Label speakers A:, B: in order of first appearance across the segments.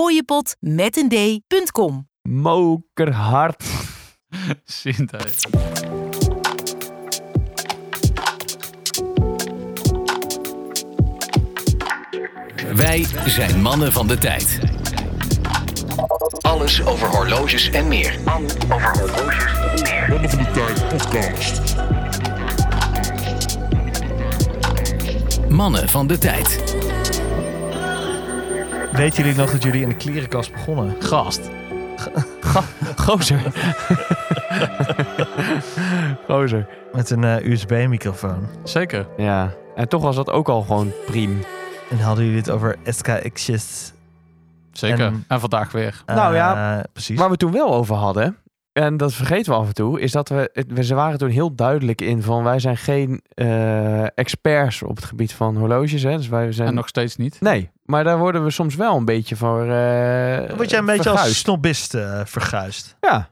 A: fooiepot met een d.com.
B: Mokerhard. Zintuig.
C: Wij zijn mannen van de tijd. Alles over horloges en meer. Mannen van de tijd.
D: Weten jullie nog dat jullie in de klerenkast begonnen?
B: Gast. Gozer. Gozer.
D: Met een eh, USB-microfoon.
B: Zeker.
E: Ja. En toch was dat ook al gewoon priem.
D: En hadden jullie het over SKX's?
B: Zeker. En,
D: En-
B: vandaag weer.
D: eh,
E: Nou ja,
D: precies.
E: Waar we toen wel over hadden, en dat vergeten we af en toe, is dat we, het- we ze waren toen heel duidelijk in van wij zijn geen eh, experts op het gebied van horloges. Hè? Dus wij zijn...
B: En nog steeds niet.
E: Nee, maar daar worden we soms wel een beetje voor. eh,
D: Dan word jij een beetje als
E: verguisd.
D: snobist eh, verguisd.
E: Ja.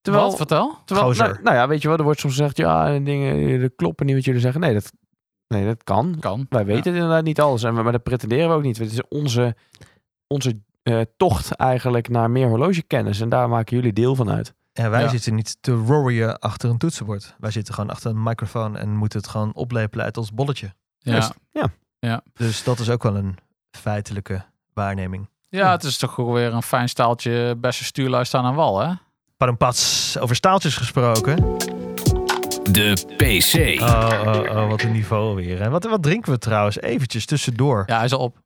E: Terwijl,
B: Wat? Vertel.
E: terwijl
D: Gozer.
E: nou, nou ja, weet je wel, er wordt soms gezegd, ja, en dingen dat kloppen niet wat jullie zeggen. Nee, dat, nee, dat kan.
B: Kan.
E: Wij weten het inderdaad niet alles, en we, maar dat pretenderen we ook niet. Het is onze, onze eh, tocht eigenlijk naar meer horlogekennis en daar maken jullie deel van uit.
D: En wij
B: Ja.
D: zitten niet te roaryen achter een toetsenbord. Wij zitten gewoon achter een microfoon en moeten het gewoon oplepelen uit ons bolletje.
B: Ja. Ja.
E: Juist. Ja.
D: Dus dat is ook wel een feitelijke waarneming.
B: ja, het is toch gewoon weer een fijn staaltje beste stuurlui staan aan wal, hè?
D: Parampats, over staaltjes gesproken.
C: De PC.
D: Oh, oh, oh, wat een niveau weer. En wat, wat drinken we trouwens? Eventjes tussendoor. Ja,
B: Ja, hij is al op.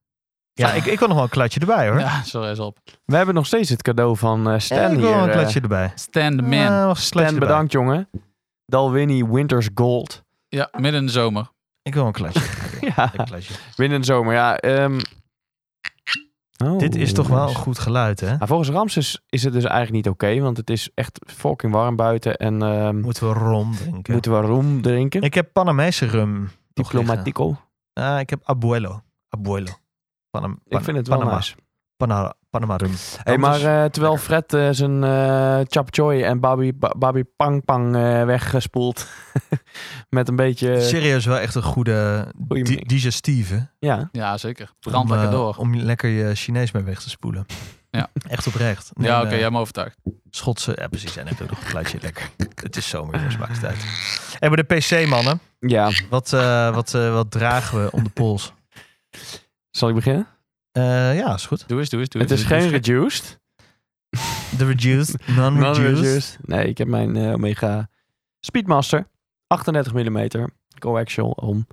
D: ik, ik wil nog wel een klatje erbij hoor.
B: Ja, sorry, hij is al op.
E: We hebben nog steeds het cadeau van eh, Stan
D: Ja, ik wil wel
E: hier.
D: een
E: eh.
D: klatje erbij.
B: Stand the
D: Ja,
B: man.
D: wel Eh, een klatje
E: Stan,
D: erbij.
E: bedankt jongen. Dalwinnie Winters Gold.
B: Ja, midden in de zomer.
D: Ik wil een klatje.
E: Ja,
D: Een klatje.
E: binnen de zomer. Ja, ehm. Oh,
D: Dit is toch wel een
E: jongens.
D: goed geluid hè?
E: Maar volgens Ramses is het dus eigenlijk niet oké, want het is echt fucking warm buiten en ehm,
D: Moeten we rom drinken.
E: moeten we rum drinken.
D: Ik heb Panamese rum. nog liggen.
E: Diplomatico.
D: Ah, ik heb abuelo. Abuelo. Panam,
E: Ik vind het wel
D: Panama.
E: nice.
D: Panama, Panama rum.
E: Hey, maar
D: Anders-
E: eh, terwijl Fred eh, zijn eh chap choy en babi, ba- babi pang pang eh, weggespoeld met een beetje...
D: Serieus wel echt een goede
E: eh, Goeie
D: di-
E: mening.
D: digestieve.
E: ja,
B: Ja, zeker.
D: om,
B: Brand lekker
D: eh,
B: door.
D: Om je- lekker je Chinees mee weg te spoelen.
B: Ja.
D: Echt oprecht. Neem,
B: Ja, oké,
D: eh,
B: jij hebt me overtuigd.
D: Schotse, ja precies. En heb ook nog een plaatje lekker. Het is zomer, jongens, maakt het uit. En bij de PC mannen,
E: ja.
D: wat, eh, wat, eh, wat dragen we om de pols?
E: Zal ik beginnen?
D: Eh, ja, is goed.
B: Doe eens, doe eens, doe
E: het
B: eens.
E: is
B: Doe eens.
E: geen reduced.
D: De reduced, non-reduced.
E: Non-reduced. Nee, ik heb mijn eh, Omega Speedmaster. 38 mm. Coaxial om.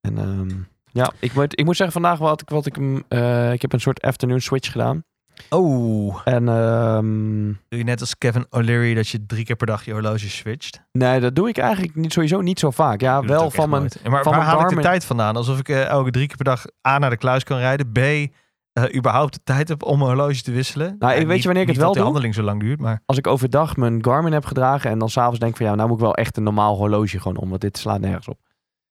E: En ehm, ja, ik moet, ik moet zeggen, vandaag wat ik, wat ik hem. eh, ik heb een soort afternoon switch gedaan.
D: Oh,
E: En ehm,
D: doe je net als Kevin O'Leary dat je drie keer per dag je horloge switcht?
E: nee, dat doe ik eigenlijk niet, sowieso niet zo vaak. Ja,
D: Ik doe dat
E: wel
D: ook
E: van
D: echt
E: mijn.
D: nooit. En Maar
E: van
D: waar
E: mijn
D: haal ik de
E: Garmin.
D: tijd vandaan? Alsof ik eh, elke drie keer per dag A naar de kluis kan rijden, B eh, überhaupt de tijd heb om mijn horloge te wisselen.
E: Nou, ik- weet je
D: niet-
E: wanneer ik het
D: niet
E: wel
D: dat die
E: doe?
D: handeling zo lang duurt, maar
E: Als ik overdag mijn Garmin heb gedragen en dan s'avonds denk ik van ja, nou moet ik wel echt een normaal horloge gewoon om, want dit slaat nergens op.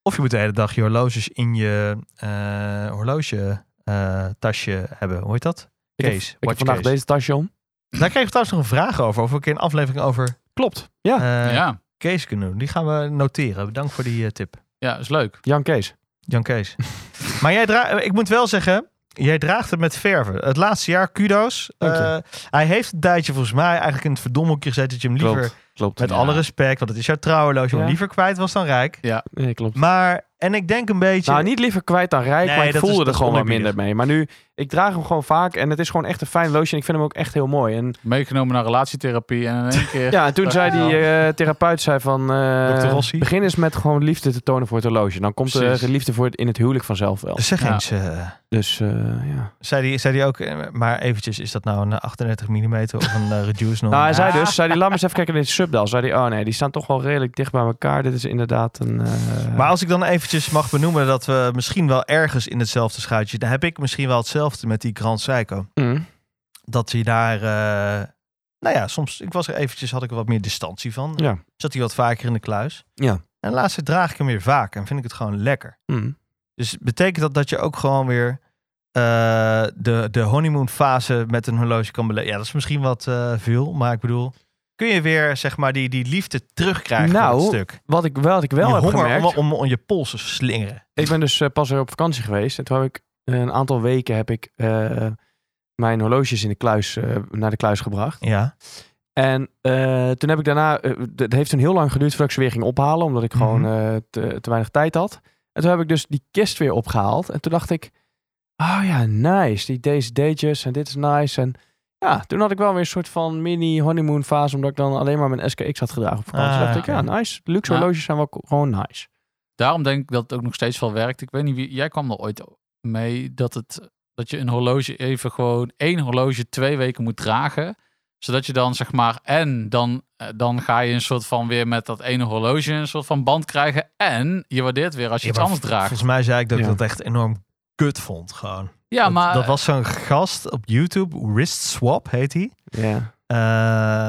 D: Of je moet de hele dag je horloges in je eh horloge eh, tasje hebben. Hoe heet dat?
E: Ik heb-
D: Case.
E: Ik heb vandaag deze tasje om.
D: Daar kreeg ik trouwens nog een vraag over. Of we een keer een aflevering over
E: Klopt. Ja,
D: eh,
B: Ja,
D: Case kunnen doen. Die gaan we noteren. Bedankt voor die eh, tip.
B: ja, is leuk.
E: Jan Kees.
D: Jan Kees. maar jij draagt, ik moet wel zeggen, jij draagt het met verve. Het laatste jaar, kudo's.
E: Dank je.
D: Eh, hij heeft een tijdje volgens mij eigenlijk in het verdomhoekje gezet dat je hem liever,
E: Klopt. Klopt.
D: met
B: Ja.
D: alle respect, want het is jouw trouwhorloge, hem
E: Ja.
D: liever kwijt was dan rijk.
E: Nee, klopt.
D: Maar, en ik denk een beetje...
E: Nou, niet liever kwijt dan rijk,
D: Nee,
E: maar ik
D: dat
E: voelde
D: is-
E: er
D: dat is
E: gewoon wat
D: oneerbiedig.
E: minder mee. Maar nu, ik draag hem gewoon vaak en het is gewoon echt een fijn loosje en ik vind hem ook echt heel mooi. En
B: Meegenomen naar relatietherapie en in één keer...
E: ja, en toen zei die eh, therapeut zei van, eh,
D: Dr. Rossi.
E: begin eens met gewoon liefde te tonen voor het horloge. Dan komt de
B: Precies.
E: liefde voor het, in het huwelijk vanzelf wel.
D: Zeg
B: Ja.
D: eens... eh,
E: Dus eh, ja.
D: Zei die, zei die ook, eh, maar eventjes, is dat nou een eh, 38 mm of een eh, reduced norm?
E: Nou, hij zei dus, zei die, laat me eens even kijken in dit subdal. Zei die, oh nee, die staan toch wel redelijk dicht bij elkaar. Dit is inderdaad een... eh,
D: Maar als ik dan eventjes mag benoemen dat we misschien wel ergens in hetzelfde schuitje, dan heb ik misschien wel hetzelfde met die Grand Seiko.
E: mm,
D: Dat hij daar, eh, nou ja, soms, ik was er eventjes, had ik er wat meer distantie van.
E: Ja.
D: Zat hij wat vaker in de kluis.
E: Ja.
D: En laatst draag ik hem weer vaak en vind ik het gewoon lekker.
E: mm.
D: Dus betekent dat dat je ook gewoon weer eh, de, de honeymoon fase met een horloge kan beleven? Ja, dat is misschien wat eh, veel, maar ik bedoel... Kun je weer, zeg maar, die, die liefde terugkrijgen
E: Nou,
D: van het stuk?
E: Wat ik wel, wat ik wel
D: je
E: heb
D: honger
E: gemerkt...
D: Om, om, om je polsen te slingeren.
E: Ik ben dus eh, pas weer op vakantie geweest. En toen heb ik eh, een aantal weken heb ik eh, mijn horloge is in de kluis, eh, naar de kluis gebracht.
D: Ja.
E: En eh, toen heb ik daarna, eh, d- het heeft toen heel lang geduurd voordat ik ze weer ging ophalen, omdat ik
D: Mhm.
E: gewoon eh, te, te weinig tijd had. En toen heb ik dus die kist weer opgehaald. En toen dacht ik, oh ja, nice. Die deze dages en dit is nice. En ja, toen had ik wel weer een soort van mini honeymoon fase, omdat ik dan alleen maar mijn SKX had gedragen op vakantie.
D: Ah,
E: dacht ik,
D: oké.
E: ja, nice. Luxe
B: Ja.
E: horloges zijn wel ko- gewoon nice.
B: Daarom denk ik dat het ook nog steeds wel werkt. Ik weet niet wie. Jij kwam er ooit mee dat, het, dat je een horloge even gewoon één horloge twee weken moet dragen. Zodat je dan zeg maar. En dan, eh, dan ga je een soort van weer met dat ene horloge een soort van band krijgen. En je waardeert weer als je
D: Ja,
B: iets
D: maar
B: anders
D: vol-
B: draagt.
D: Volgens mij zei ik dat ik
E: Ja.
D: dat echt enorm kut vond gewoon.
B: Ja,
D: Dat-
B: maar.
D: dat, was zo'n gast op YouTube, Wrist Swap heet hij.
E: Ja.
D: Eh,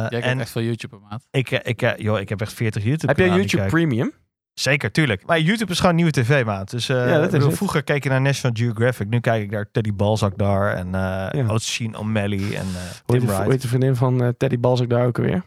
B: Jij kijkt
D: en
B: echt veel YouTube, maat.
D: ik, ik, eh, joh, ik heb echt 40 YouTube.
E: Heb jij
D: kanalen
E: YouTube
D: die ik
E: Premium?
D: kijk. Zeker, tuurlijk. Maar YouTube is gewoon nieuwe tv, maat. Dus eh,
E: Ja, dat is
D: bedoel,
E: het.
D: vroeger keek je naar National Geographic. Nu kijk ik naar Teddy Balzac daar en eh
E: Ja.
D: Ocean O'Malley en
E: Hoe
D: eh
E: heet
D: Tim
E: de- hoe
D: Wright.
E: heet de vriendin van eh, Teddy Balzac daar ook weer?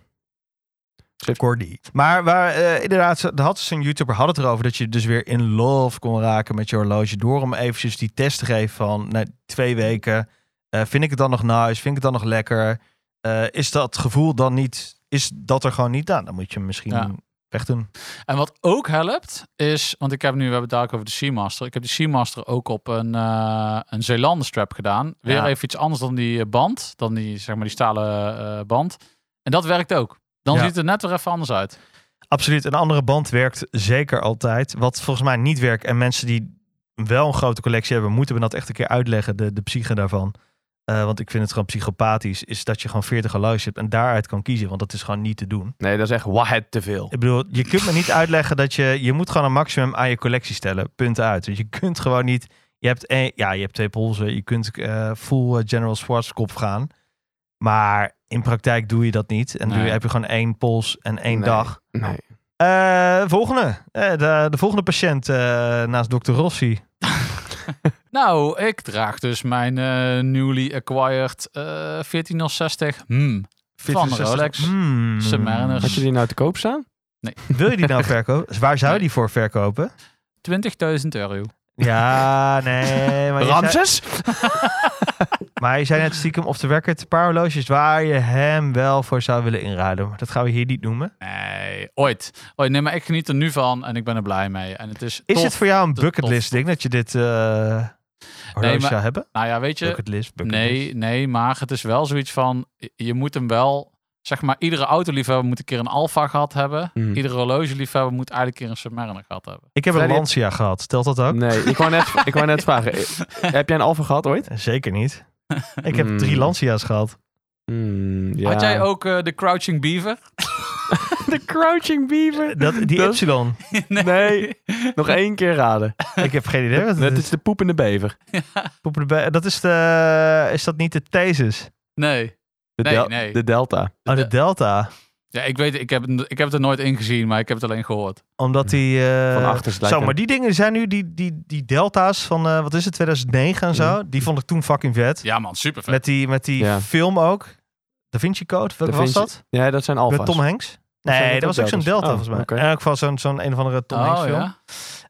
D: Cordy. Maar waar, eh, inderdaad, ze- er had dus een YouTuber had het erover dat je dus weer in love kon raken met je horloge. Door hem eventjes die test te geven van nou, twee weken. eh, vind ik het dan nog nice? Vind ik het dan nog lekker? Eh, is dat gevoel dan niet, is dat er gewoon niet aan? Dan moet je hem misschien
B: Ja.
D: wegdoen.
B: En wat ook helpt is, want ik heb nu, we hebben het daar ook over de Seamaster. Ik heb die Seamaster ook op een, eh een Zeelander strap gedaan. Weer
D: Ja.
B: even iets anders dan die eh, band, dan die, zeg maar, die stalen eh, band. En dat werkt ook. Dan
D: Ja.
B: ziet het er net weer even anders uit.
D: Absoluut, een andere band werkt zeker altijd. Wat volgens mij niet werkt en mensen die wel een grote collectie hebben, moeten we dat echt een keer uitleggen, de, de psyche daarvan. Eh, want ik vind het gewoon psychopathisch, is dat je gewoon 40 horloges hebt en daaruit kan kiezen. Want dat is gewoon niet te doen.
E: Nee, dat is echt wahed te veel.
D: Ik bedoel, je kunt me niet uitleggen dat je... Je moet gewoon een maximum aan je collectie stellen. Punt uit. Dus je kunt gewoon niet... Je hebt, één, ja, je hebt twee polsen. Je kunt eh, full eh, General Schwarzkopf gaan. Maar in praktijk doe je dat niet. En nu
B: Nee.
D: heb je gewoon één pols en één
E: Nee.
D: dag.
E: Nee.
D: Eh, volgende. Eh, de, de volgende patiënt eh, naast dokter Rossi.
B: Nou, ik draag dus mijn eh, newly acquired eh 1460 hmm, van
D: 64.
B: Rolex.
D: Hmm.
B: Submariner.
E: Had je die nou te koop staan?
D: Wil je die nou verkopen? Waar zou je die voor verkopen?
B: 20.000 euro.
D: Ja, nee. Maar je zei-
E: Ramses?
D: Maar je zei net stiekem of de record een paar horloges waar je hem wel voor zou willen inruilen. Maar dat gaan we hier niet noemen.
B: Nee, ooit. ooit. Nee, maar ik geniet er nu van en ik ben er blij mee. En het is,
D: Is
B: tof.
D: het voor jou een
B: Tof.
D: bucketlist ding dat je dit eh horloge
B: maar-
D: zou hebben?
B: Nou ja, weet je,
D: Bucketlist, bucketlist.
B: Nee, nee, maar het is wel zoiets van, je- je moet hem wel, zeg maar, iedere autoliefhebber moet een keer een Alfa gehad hebben.
E: Hmm.
B: Iedere horlogeliefhebber moet eigenlijk een keer een Submariner gehad hebben.
D: Ik heb
E: Freddy-
D: een Lancia gehad. Stelt dat
B: Mm.
D: ook?
E: Nee, ik wou net, ik wou net vragen. eh, Heb jij een Alfa gehad ooit?
D: Eh, Zeker niet. Ik heb
E: Hmm.
D: drie Lancia's gehad.
E: ja.
B: Had jij ook eh, de Crouching Beaver?
E: de Crouching Beaver?
D: Dat, die
E: Dat-
D: Ypsilon.
E: Nee, nog één keer raden.
D: Ik heb geen idee. Wat
E: Het
D: het is.
E: is de poepende bever.
D: Poep erbij. Dat is de... Is dat niet de Thesis?
B: Nee.
E: De,
B: Nee,
E: del-
B: nee.
E: de Delta.
D: Oh, de
B: De-
D: Delta.
B: Ja, ik weet, ik heb, het- ik heb het er nooit in gezien, maar ik heb het alleen gehoord.
D: Omdat die... eh,
E: Van achter is het
D: Zo,
E: lijkt
D: maar die dingen zijn nu... Die, die, die Delta's van... eh, wat is het? 2009 en zo. Die vond ik toen fucking vet.
B: Ja man, super vet.
D: Met die, met die
E: Mhm. Ja.
D: film ook. Da Vinci Code, welke
E: Da Vinci-
D: was dat?
E: Ja, dat zijn Alfa's.
D: Met Tom Hanks?
E: zijn
D: Nee,
E: dat
D: dat was
E: ook
D: ook zo'n
E: Deltas?
D: Delta
E: Oh,
D: volgens mij.
E: oké.
D: In elk geval zo'n zo'n een of andere Tom Hanks
B: oh,
D: film.
B: ja.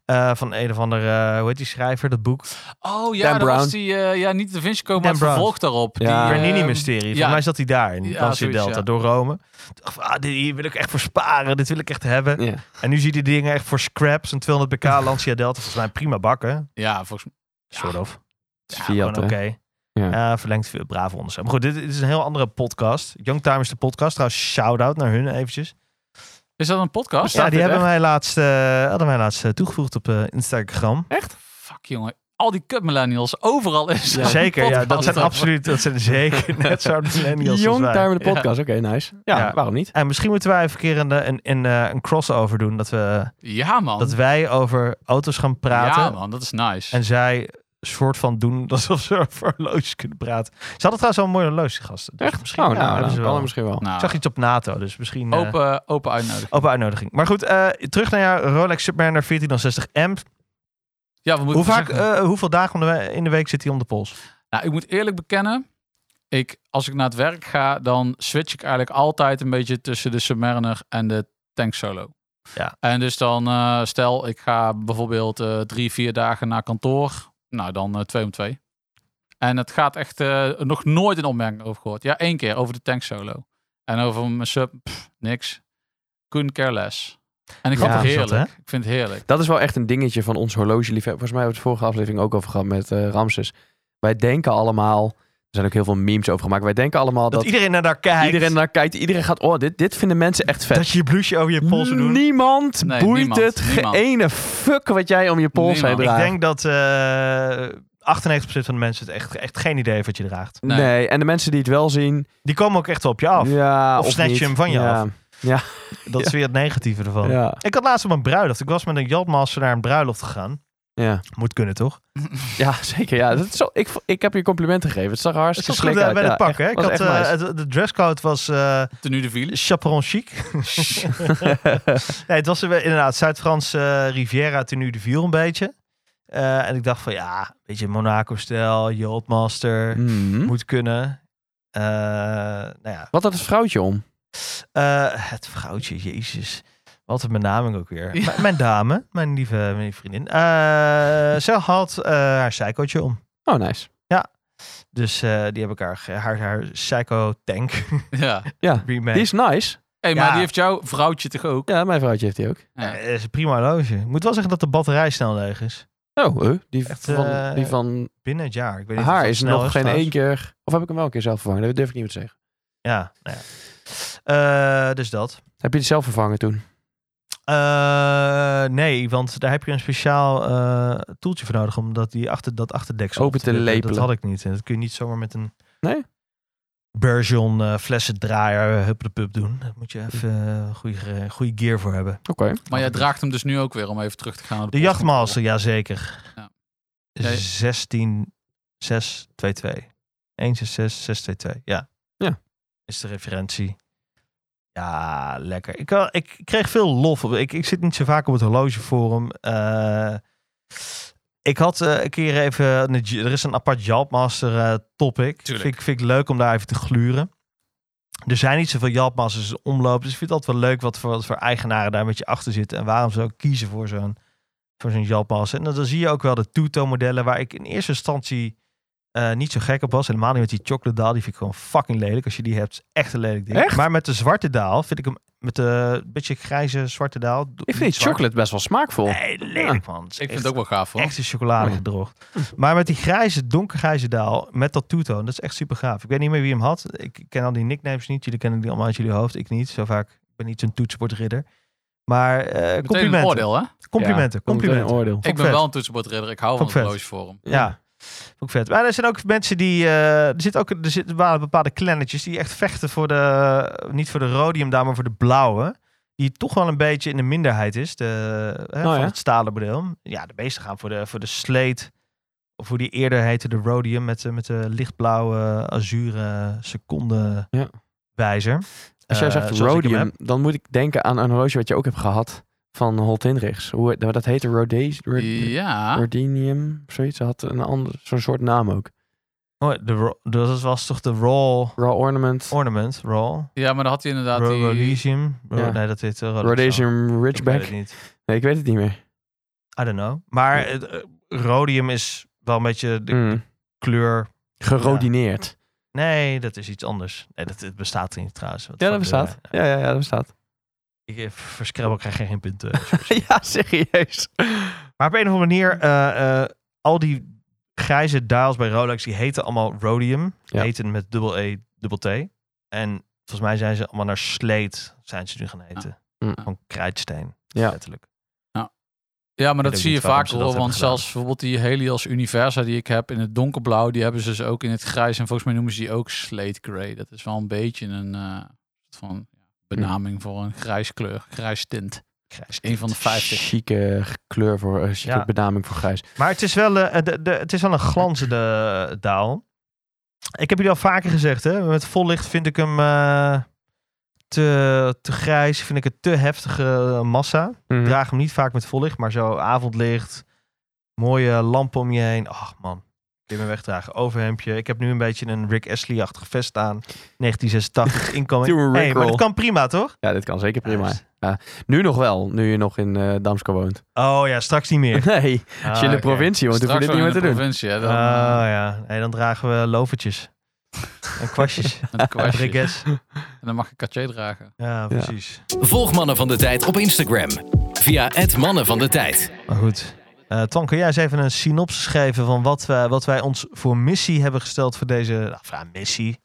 D: Eh, van een of andere, eh, hoe heet die schrijver, dat boek?
B: oh
E: Dan
B: ja, dat
E: Brown.
B: was die, eh, ja, niet de Vinci Code, maar
D: Dan
B: het
D: Brown.
B: vervolg daarop.
E: Ja.
B: Die, eh,
D: Bernini-mysterie. Volgens
B: ja.
D: mij zat hij daar in
B: Ja,
D: Lancia
B: zoiets,
D: Delta,
B: ja.
D: door Rome. Ik dacht, ah, dit- hier wil ik echt voor sparen, dit wil ik echt hebben.
E: Ja.
D: En nu zie je die dingen echt voor scraps. Een 200 pk Lancia Delta, volgens mij prima bakken.
B: Ja, volgens Ja.
D: Sort of.
E: Het is Fiat,
D: gewoon
E: hè?
D: oké.
E: Ja.
D: Eh, verlengt veel braaf onder Maar goed, dit, dit is een heel andere podcast. Youngtime is de podcast. Trouwens, shout-out naar hun eventjes.
B: Is dat een podcast?
D: Ja, die
E: dit
D: hebben mij laatst, eh, hadden mij laatst eh, toegevoegd op eh, Instagram.
B: Fuck jongen. Al die kut millennials, overal is er een
D: zeker, ja, dat
B: podcast
D: zijn
B: over.
D: absoluut, dat zijn zeker net zo'n millennials als
E: Young
D: wij.
E: Time in de podcast. Oké, nice. Ja,
D: Ja.
E: waarom niet?
D: En misschien moeten wij even een keer een, eh, een, een, eh, een crossover doen. Dat, we,
B: Ja man.
D: dat wij over auto's gaan praten.
B: Ja man, dat is nice.
D: En zij soort van doen alsof ze over horloges kunnen praten. Ze hadden trouwens wel een mooie horloge, die gasten. Dus
E: Echt?
D: Misschien
E: oh,
D: ja,
E: nou, nou,
D: hebben ze
E: kan
D: wel.
E: er misschien wel.
B: Nou,
D: Ik zag iets op NATO, dus misschien... eh,
B: open, open uitnodigen.
D: Open uitnodiging. Maar goed, eh, terug naar jouw Rolex Submariner 1460M.
B: Ja, we moeten
D: Hoe vaak,
B: zeggen-
D: eh, hoeveel dagen om de we- in de week zit hij om de pols?
B: nou, ik moet eerlijk bekennen. Ik, als ik naar het werk ga, dan switch ik eigenlijk altijd een beetje tussen de Submariner en de Tank Solo.
D: Ja.
B: En dus dan, eh, stel, ik ga bijvoorbeeld eh, drie, vier dagen naar kantoor. Nou, dan eh, twee om twee. En het gaat echt eh, nog nooit een opmerking over gehoord. Ja, één keer over de tank solo. En over mijn sub, pff, niks. Couldn't care less. En ik vind
E: Ja,
B: het heerlijk.
D: zat, hè?
B: ik vind het heerlijk.
E: Dat is wel echt een dingetje van ons horlogeliefhebber. Volgens mij hebben we het vorige aflevering ook over gehad met eh, Ramses. Wij denken allemaal, er zijn ook heel veel memes over gemaakt. Wij denken allemaal
D: Dat
E: dat,
D: iedereen naar daar kijkt.
E: iedereen naar kijkt. Iedereen gaat, oh, dit, dit vinden mensen echt vet.
D: dat je je blouseje over je pols doet.
E: Niemand
B: Nee,
E: boeit
B: niemand,
E: het geen
B: niemand.
E: ene fuck wat jij om je pols heen
B: Niemand.
E: draagt.
D: Ik denk dat eh 98% van de mensen het echt, echt geen idee heeft wat je draagt.
B: Nee.
E: nee. en de mensen die het wel zien,
D: Die komen ook echt wel op je af.
E: ja,
D: Of snatch je
E: niet.
D: hem van je
E: ja.
D: af. Dat is weer het negatieve ervan.
E: Ja,
D: Ik had laatst op een bruiloft. Ik was met een Jadmaster naar een bruiloft gegaan.
E: ja.
D: Moet kunnen, toch?
E: ja zeker. Ja. Dat is zo, ik, vo- ik heb je complimenten gegeven. Het zag er
D: Het
E: hartstikke
D: was goed
E: slik
D: eh,
E: uit.
D: bij
E: ja,
D: het pak,
E: echt-
D: hè? Ik
E: was
D: had,
E: echt
D: eh,
E: nice.
D: het- de dresscode was eh
B: Tenue de Ville.
D: chaperon chic. nee, het was eh, inderdaad Zuid-Franse eh, Riviera tenue de Ville een beetje. Eh, en ik dacht van ja, een beetje Monaco-stijl, Jodmaster,
E: Mhm.
D: moet kunnen. Eh, nou ja,
E: Wat had het vrouwtje om?
D: Eh, het vrouwtje, jezus. Wat een benaming ook weer.
B: Ja.
D: M- mijn dame, mijn lieve, mijn lieve vriendin. Eh, ze had eh, haar psychootje om.
E: Oh, nice.
D: Dus eh, die heb ik haar, ge- haar, haar psycho-tank
B: Ja.
E: Ja.
D: remake.
E: Die is nice.
B: Hey,
D: Ja.
B: maar die heeft jouw vrouwtje toch ook?
E: Ja, mijn vrouwtje heeft die ook.
D: Eh, dat is een prima loge. Ik moet wel zeggen dat de batterij snel leeg is.
E: Oh, eh, die,
D: Echt,
E: van,
D: eh,
E: die van
D: Binnen het jaar. Ik weet niet of
E: haar
D: dat
E: is
D: snel
E: nog geen
D: trouwens.
E: één keer... Of heb ik hem wel een keer zelf vervangen? Dat durf ik niet meer te zeggen.
D: Ja, nou ja. Eh, dus dat.
E: Heb je het zelf vervangen toen?
D: Eh, nee, want daar heb je een speciaal eh, toeltje voor nodig om dat, die achter, dat achterdeksel
E: Open te
D: wippen.
E: lepelen.
D: Dat had ik niet. En dat kun je niet zomaar met een
E: Nee?
D: Bergeon eh, flessendraaier hup de pup doen. Daar moet je even eh, goede, ge- goede gear voor hebben.
E: Oké.
B: Maar jij draagt hem dus nu ook weer om even terug te gaan naar de
D: eh, De Jachtmaster, jazeker.
B: Ja.
D: 16 622. 166 622. Ja.
E: Ja.
D: Is de referentie. Ja, lekker. Ik, wel- ik kreeg veel lof. op- Ik, ik zit niet zo vaak op het horlogeforum. Eh, ik had eh, een keer even... een j- er is een apart Jalpmaster eh, topic.
B: Tuurlijk.
D: Vind, ik- vind ik leuk om daar even te gluren. Er zijn niet zoveel Jalpmasters in omloop. Dus ik vind het altijd wel leuk wat voor, wat voor eigenaren daar met je achter zitten. En waarom ze ook kiezen voor zo'n voor zo'n Jalpmaster. En dan, dan zie je ook wel de Tuto-modellen... waar ik in eerste instantie eh, niet zo gek op was. Helemaal niet met die chocolate daal. Die vind ik gewoon fucking lelijk. Als je die hebt, is echt een lelijk ding.
E: Echt?
D: Maar met de zwarte daal vind ik hem... Met de beetje grijze zwarte daal. do-
E: Ik vind
D: niet
E: die
D: zwart.
E: chocolate best wel smaakvol.
D: Nee, lelijk man. Het is
B: Ik vind
D: echt-
B: het ook wel gaaf hoor.
D: Echt een
B: Mm.
D: chocoladegedrocht. Maar met die grijze, donkergrijze daal, met dat toetoon, dat is echt super gaaf. Ik weet niet meer wie hem had. Ik ken al die nicknames niet. Jullie kennen die allemaal uit jullie hoofd. Ik niet. Zo vaak. Ik ben niet zo'n toetsenbordridder. Maar eh,
B: Meteen een
D: complimenten.
B: oordeel hè?
D: Complimenten.
E: Komt meteen een
D: complimenten.
E: oordeel.
D: Vond
B: Ik
D: ik
B: ben
D: vet.
B: wel een toetsenbordridder. Ik hou van
D: Vond
B: het
D: ik vet.
B: horlogeforum.
D: Ja. Vond ik vet. Maar er zijn ook mensen die... eh, er, zit ook, er zitten waren bepaalde klennetjes die echt vechten voor de... Niet voor de rhodium daar, maar voor de blauwe. Die toch wel een beetje in de minderheid is. De, hè,
E: Oh,
D: van
E: ja?
D: het stalen bril. Ja, de meesten gaan voor de, voor de sleet. Of hoe die eerder heette, de rhodium. Met, de- met de lichtblauwe, azure seconde
E: Ja.
D: wijzer.
E: Als jij
D: Eh,
E: zegt
D: zoals ik hem
E: rhodium,
D: heb.
E: dan moet ik denken aan een horloge wat je ook hebt gehad van Holt Hendricks. Hoe, dat heette Rhodes- Rhod-
B: Ja.
E: Rhodinium, of zoiets. Dat had een ander, zo'n soort naam ook.
D: Oh, de, ro- dat was toch de roll
E: Raw Ornament,
D: ornament? Roll?
B: Ja, maar dan had hij inderdaad die...
D: Rhodesium? Ro-
E: Ja.
D: Nee, dat heet uh,
E: Rhodesium
D: Ik weet
E: Ridgeback.
D: het niet.
E: Nee, ik weet het niet meer.
D: I don't know. Maar het, eh, rhodium is wel een beetje de
E: Mm.
D: kleur.
E: Gerodineerd.
D: Nee, dat is iets anders. Nee, dat, het bestaat niet trouwens. Wat
E: Ja, dat
D: voor
E: bestaat.
D: kleur-
E: eh, Ja, ja, ja, dat bestaat.
D: Ik, eh, voor Scrabble krijg je geen punten.
E: ja, serieus.
D: maar op een of andere manier, eh, eh, al die grijze dials bij Rolex, die heten allemaal rhodium.
E: Ja.
D: Heten met dubbel E, dubbel T. En volgens mij zijn ze allemaal naar sleet, zijn ze nu gaan heten.
E: Ja. Mm.
D: Van krijtsteen,
E: Ja.
D: letterlijk.
B: Ja, maar
D: weet
B: dat
D: ook
B: zie je
D: niet waarom
B: vaak
D: ze
B: hoor.
D: dat
B: Want
D: hebben
B: zelfs bijvoorbeeld die Helios Universa die ik heb in het donkerblauw, die hebben ze dus ook in het grijs. En volgens mij noemen ze die ook slate grey. Dat is wel een beetje een eh, soort van
D: Hm.
B: benaming voor een grijs kleur, grijs tint.
D: Krijtstint.
B: Een van de 50.
E: Chique kleur voor, eh, chique
D: Ja.
E: benaming voor grijs.
D: Maar het is wel, eh, de, de, het is wel een glanzende daal. Ik heb jullie al vaker gezegd, hè? met vol licht vind ik hem eh, te, te grijs, vind ik het te heftige massa.
E: Mhm.
D: Ik draag hem niet vaak met vol licht, maar zo avondlicht, mooie lampen om je heen. Ach man, Kun je me wegdragen. Overhemdje. Ik heb nu een beetje een Rick Astley-achtig vest aan. 1986
E: Doe een
D: inkomen. Hey, maar
E: Rickroll.
D: dat kan prima, toch?
E: Ja, dit kan zeker prima.
D: Juist.
E: Ja, nu nog wel, nu je nog in eh Damsko woont.
D: Oh ja, straks niet meer. Ah,
E: Nee, als je in de provincie woont, hoef je
B: Ah, Straks
E: dit niet meer
B: wel in
E: te
B: de
E: doen.
B: provincie, hè,
D: Oh
B: dan, eh,
D: ja, hey, dan dragen we lovertjes. En kwastjes.
B: eh, met een kwastje.
D: Rick As.
B: En dan mag je katje dragen.
D: Ja, precies.
C: Volg Mannen van de Tijd op Instagram via het Mannen van de Tijd.
D: Maar goed. Eh Twan, kun jij eens even een synopsis geven van wat, we, wat wij ons voor missie hebben gesteld voor deze... Nou, of ja, missie.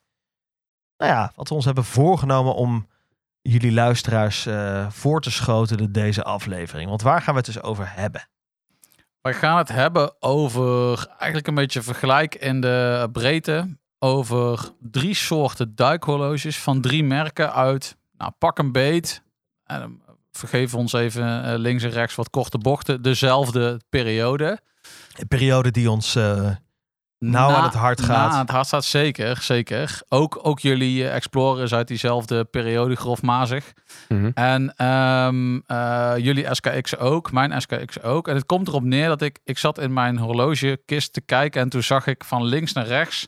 D: Nou ja, wat we ons hebben voorgenomen om jullie luisteraars eh, voor te schotelen deze aflevering. Want waar gaan we het dus over hebben?
B: We gaan het hebben over eigenlijk een beetje vergelijk in de breedte. Over drie soorten duikhorloges van drie merken uit nou, pak een beet. En, eh, vergeef ons even eh, links en rechts wat korte bochten. Dezelfde periode.
D: Een periode die ons... eh, Nou aan het hart gaat.
B: Nou, aan het hart staat zeker, zeker. Ook, ook jullie eh, Explorer is uit diezelfde periode grofmazig.
E: Mhm.
B: En ehm, eh, jullie SKX ook, mijn SKX ook. En het komt erop neer dat ik, ik zat in mijn horlogekist te kijken en toen zag ik van links naar rechts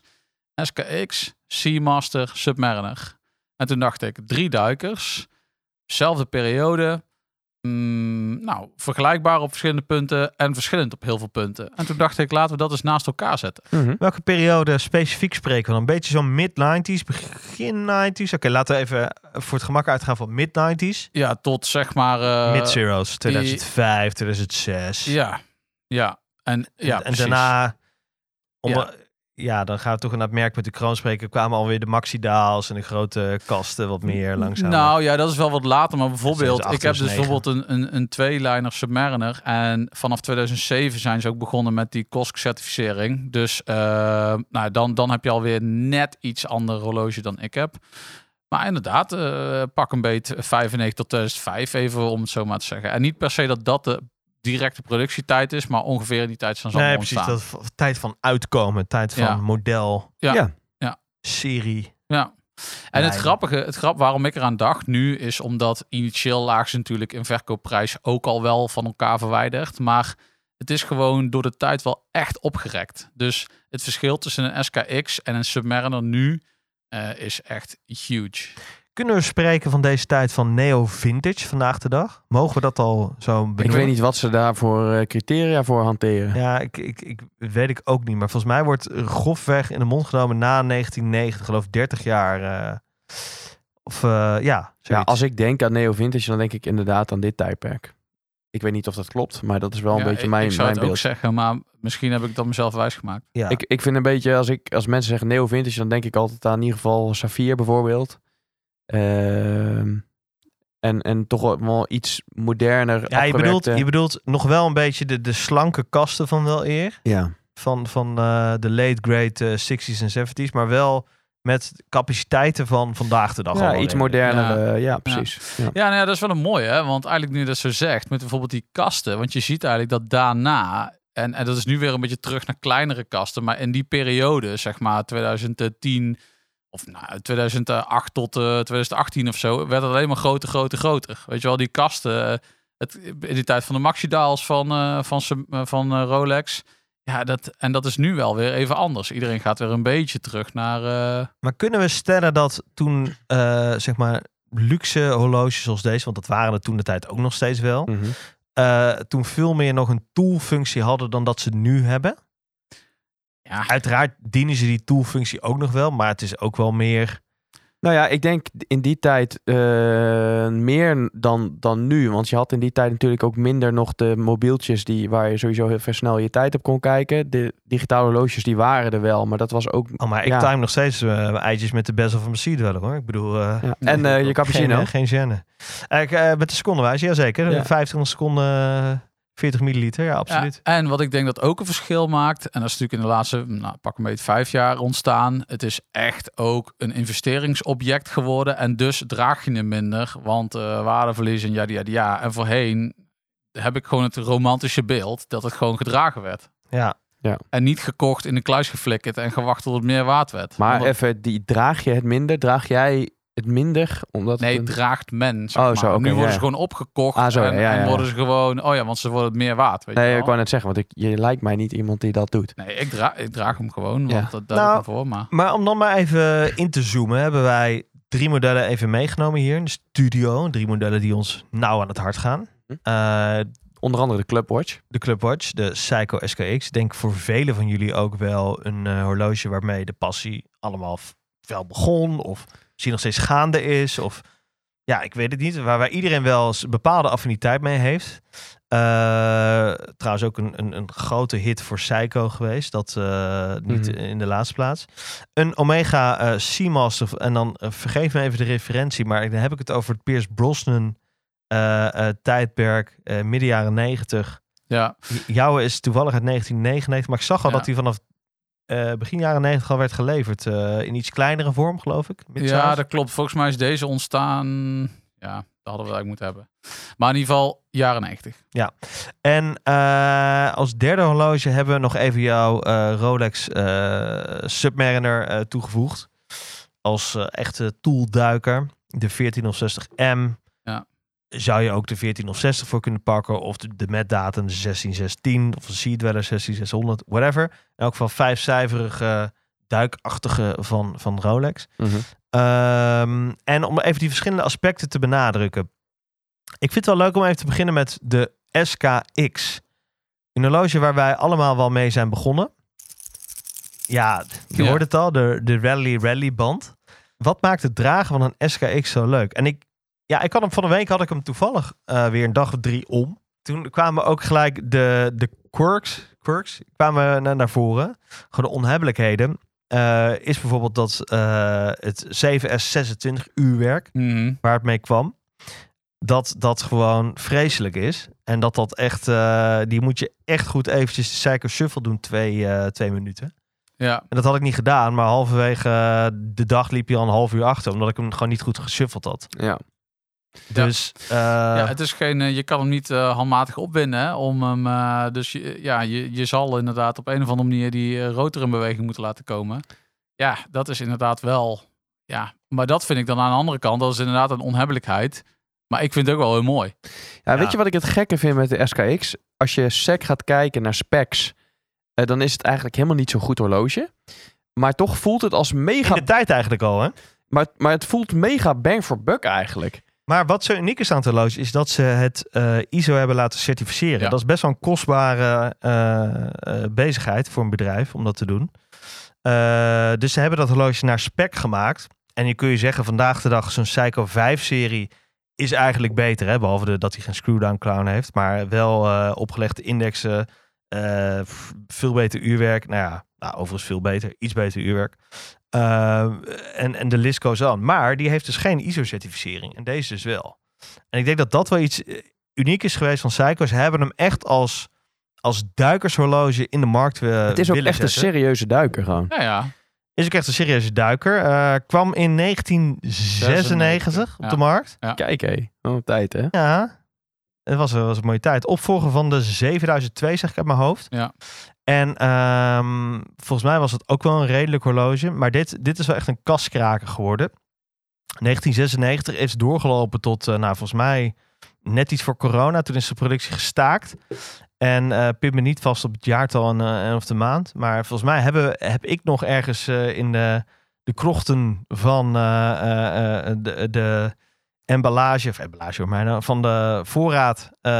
B: SKX, Seamaster, Submariner. En toen dacht ik, drie duikers, zelfde periode, mm, nou, vergelijkbaar op verschillende punten en verschillend op heel veel punten. En toen dacht ik, laten we dat eens naast elkaar zetten.
E: Mhm.
D: Welke periode specifiek spreken we dan? Een beetje zo'n mid-90s, begin 90s? Oké, laten we even voor het gemak uitgaan van mid-90s.
B: Ja, tot zeg maar... eh,
D: Mid-zeros, 2005, 2006.
B: Ja, ja. En, ja,
D: en
B: precies.
D: daarna, om,
B: Ja.
D: ja. dan gaan we toch naar het merk met de kroon spreken. kwamen alweer de Maxidaals en de grote kasten wat meer langzaam.
B: Nou ja, dat is wel wat later. Maar
D: Dat
B: bijvoorbeeld,
D: zijn ze
B: ik heb dus
D: 809.
B: bijvoorbeeld een, een, een tweeliner Submariner. En vanaf 2007 zijn ze ook begonnen met die COSC-certificering. Dus eh, nou, dan, dan heb je alweer net iets ander horloge dan ik heb. Maar inderdaad, eh, pak een beet 95 tot 2005 even, om het zo maar te zeggen. En niet per se dat dat de directe productietijd is, maar ongeveer in die tijd zijn ze
D: nee,
B: allemaal
D: precies.
B: ontstaan.
D: Dat v- tijd van uitkomen, tijd van
B: Ja.
D: model,
B: Ja.
E: Ja.
B: Ja.
D: serie.
B: Ja. En het
D: Nee.
B: grappige, het grap waarom ik eraan dacht nu, is omdat initieel laag ze natuurlijk in verkoopprijs ook al wel van elkaar verwijderd. Maar het is gewoon door de tijd wel echt opgerekt. Dus het verschil tussen een SKX en een Submariner nu eh, is echt huge.
D: Kunnen we spreken van deze tijd van neo-vintage vandaag de dag? Mogen we dat al zo benoemen?
E: Mhm. Ik weet niet wat ze daarvoor eh, criteria voor hanteren.
D: Ja, ik, ik, ik weet ik ook niet. Maar volgens mij wordt eh, grofweg in de mond genomen na 1990, geloof 30 jaar. eh, of eh, ja,
E: Ja,
D: zoiets.
E: als ik denk aan Neo Vintage, dan denk ik inderdaad aan dit tijdperk. Ik weet niet of dat klopt, maar dat is wel een
B: Ja,
E: beetje
B: ik,
E: mijn,
B: ik zou
E: mijn
B: het ook
E: beeld.
B: zeggen, maar misschien heb ik dat mezelf wijsgemaakt.
D: ja.
E: Ik, ik vind een beetje, als, ik, als mensen zeggen Neo Vintage, dan denk ik altijd aan in ieder geval Safir bijvoorbeeld. Ehm, en, en toch wel- wel iets moderner.
D: Ja, je
E: afgewerkte-
D: bedoelt, je bedoelt nog wel een beetje de, de slanke kasten van wel eer.
E: Ja.
D: Van, van eh, de late great eh, 60s en 70s. Maar wel met capaciteiten van vandaag de dag. al
E: Ja,
D: wel
E: iets
D: weer.
E: moderner. eh,
B: Ja.
E: Ja, precies. Ja.
B: Ja, nou ja, dat is wel een mooie, hè? want eigenlijk nu je dat zo zegt, met bijvoorbeeld die kasten, want je ziet eigenlijk dat daarna, en, en dat is nu weer een beetje terug naar kleinere kasten, maar in die periode, zeg maar 2010 of nou, 2008 tot eh, 2018 of zo, werd het alleen maar groter, groter, groter. Weet je wel, die kasten, eh, het, in die tijd van de Maxidaals van, eh, van, Sub- eh, van eh, Rolex, ja, dat, en dat is nu wel weer even anders. Iedereen gaat weer een beetje terug naar... eh,
D: Maar kunnen we stellen dat toen, eh, zeg maar, luxe horloges zoals deze, want dat waren er toen de tijd ook nog steeds wel,
E: Mhm.
D: eh, toen veel meer nog een toolfunctie hadden dan dat ze nu hebben?
B: ja,
D: Uiteraard dienen ze die toolfunctie ook nog wel, maar het is ook wel meer.
E: Nou ja, ik denk in die tijd eh, meer dan, dan nu. Want je had in die tijd natuurlijk ook minder nog de mobieltjes die, waar je sowieso heel snel je tijd op kon kijken. De digitale horloges die waren er wel, maar dat was ook...
D: Oh, maar ik
E: Ja.
D: time nog steeds eh, mijn eitjes met de best of a machine wel hoor. Ik bedoel. eh,
E: Ja. En eh, je cappuccino.
D: Geen, eh, geen gêne. Eh, ik, eh, met de secondenwijs, jazeker.
E: Ja.
D: 25 seconden, eh, 40 milliliter, ja, absoluut.
B: Ja, en wat ik denk dat ook een verschil maakt, en dat is natuurlijk in de laatste nou, pak een beetje vijf jaar ontstaan. Het is echt ook een investeringsobject geworden. En dus draag je hem minder, want eh, waardeverlies en ja, ja, ja. En voorheen heb ik gewoon het romantische beeld dat het gewoon gedragen werd.
D: Ja.
B: En niet gekocht, in de kluis geflikkerd en gewacht tot het meer waard werd.
E: Maar
B: Omdat-
E: even, die, draag je het minder? Draag jij het minder, omdat
B: Nee,
E: het een-
B: draagt men. Zeg
E: Oh,
B: maar.
E: zo, oké,
B: nu worden
E: ja,
B: ze
E: ja.
B: gewoon opgekocht.
E: Ah, zo,
B: en,
E: ja, ja,
B: en
E: ja.
B: worden ze gewoon. Oh ja, want ze worden het meer waard. Weet je
E: Nee,
B: wel?
E: ik wou net zeggen, want ik, je lijkt mij niet iemand die dat doet.
B: Nee, ik, dra ik draag hem gewoon. Want
E: Ja.
B: dat, daar
D: Nou,
B: doe ik hem voor. Maar
D: Maar om dan maar even in te zoomen, hebben wij drie modellen even meegenomen hier in de studio. Drie modellen die ons nauw aan het hart gaan.
E: Hm.
D: Eh,
E: Onder andere de Clubwatch.
D: de Clubwatch, de Psycho SKX. Ik denk voor velen van jullie ook wel een eh, horloge waarmee de passie allemaal f- wel begon. Of misschien nog steeds gaande is. Of ja, ik weet het niet. Waar, waar iedereen wel eens een bepaalde affiniteit mee heeft. Eh, trouwens ook een, een, een grote hit voor Psycho geweest. Dat eh, niet
E: Mhm.
D: in de laatste plaats. Een Omega eh, Seamaster. En dan eh, vergeef me even de referentie. Maar dan heb ik het over het Piers Brosnan eh, eh, tijdperk. eh, midden jaren negentig.
B: ja,
D: Jouwe is toevallig uit 1999, maar ik zag al
B: Ja.
D: dat hij vanaf eh, begin jaren 90 al werd geleverd. eh, in iets kleinere vorm, geloof ik.
B: ja,
D: Mid-size.
B: dat klopt. Volgens mij is deze ontstaan. Ja, dat hadden we eigenlijk moeten hebben. Maar in ieder geval, jaren 90.
D: En eh, als derde horloge hebben we nog even jouw eh, Rolex eh, Submariner eh, toegevoegd. Als eh, echte toolduiker. De 1460M.
B: Ja.
D: Zou je ook de 1460 voor kunnen pakken. Of de, de met datum de 1616. Of de Sea Dweller 16600. Whatever. In elk geval vijfcijferige eh, duikachtige van, van Rolex. Ehm, en om even die verschillende aspecten te benadrukken. Ik vind het wel leuk om even te beginnen met de SKX. Een horloge waar wij allemaal wel mee zijn begonnen. Ja, je
B: Ja.
D: hoort het al, de, de Rally Rally band. Wat maakt het dragen van een SKX zo leuk? En ik, ja, ik had hem van de week had ik hem toevallig eh, weer een dag of drie om. Toen kwamen ook gelijk de, de quirks, quirks kwamen naar, naar voren. Gewoon de onhebbelijkheden. Eh, is bijvoorbeeld dat eh, het 7S26 uurwerk,
B: Mhm.
D: waar het mee kwam, dat dat gewoon vreselijk is. En dat dat echt, eh, die moet je echt goed eventjes de Psycho Shuffle doen, twee, eh, twee minuten.
B: Ja,
D: En dat had ik niet gedaan, maar halverwege eh, de dag liep hij al een half uur achter, omdat ik hem gewoon niet goed geshuffeld had.
E: Ja.
D: Dus, eh,
B: ja, het is geen, eh, je kan hem niet eh, handmatig opwinden. Hè, om hem, eh, dus je, ja, je, je zal inderdaad op een of andere manier die eh, rotor in beweging moeten laten komen. Ja, dat is inderdaad wel. Ja, maar dat vind ik dan aan de andere kant. Dat is inderdaad een onhebbelijkheid. Maar ik vind het ook wel heel mooi.
E: Ja,
D: Ja.
E: Weet je wat ik het gekke vind met de SKX? Als je sec gaat kijken naar specs, eh, dan is het eigenlijk helemaal niet zo'n goed horloge. Maar toch voelt het als
D: in
E: mega...
D: de tijd eigenlijk al, hè?
E: Maar, maar het voelt mega bang for buck eigenlijk.
D: Maar wat zo uniek is aan het horloge, is dat ze het eh, ISO hebben laten certificeren.
B: Ja.
D: Dat is best wel een kostbare eh, eh, bezigheid voor een bedrijf om dat te doen. Eh, dus ze hebben dat horloge naar spec gemaakt. En je kun je zeggen, vandaag de dag zo'n Psycho 5-serie is eigenlijk beter. Hè? Behalve de- dat hij geen screwdown clown heeft. Maar wel eh, opgelegde indexen, eh, f- veel beter uurwerk. Nou ja, nou, overigens veel beter, iets beter uurwerk. Eh, en, en de list goes on. Maar die heeft dus geen ISO-certificering. En deze dus wel. En ik denk dat dat wel iets eh, uniek is geweest van Psycho. Ze hebben hem echt als, als duikershorloge in de markt eh,
E: het is ook
D: willen
E: echt een
D: zetten.
E: serieuze duiker gewoon.
B: Ja, ja.
D: Is ook echt een serieuze duiker. Eh, kwam in 1996 op
B: Ja.
D: de markt.
E: Kijk hé, wat een tijd hè.
D: Ja, dat was, was een mooie tijd. Opvolger van de 7002, zeg ik uit mijn hoofd.
B: Ja.
D: En ehm, volgens mij was het ook wel een redelijk horloge. Maar dit, dit is wel echt een kaskraker geworden. 1996 is doorgelopen tot, eh, nou volgens mij, net iets voor corona. Toen is de productie gestaakt. En eh pin me niet vast op het jaartal en, eh, en of de maand. Maar volgens mij hebben, we- heb ik nog ergens eh, in de, de krochten van eh, eh, eh, de, de emballage, of emballage hoor mij nou, van de voorraad eh,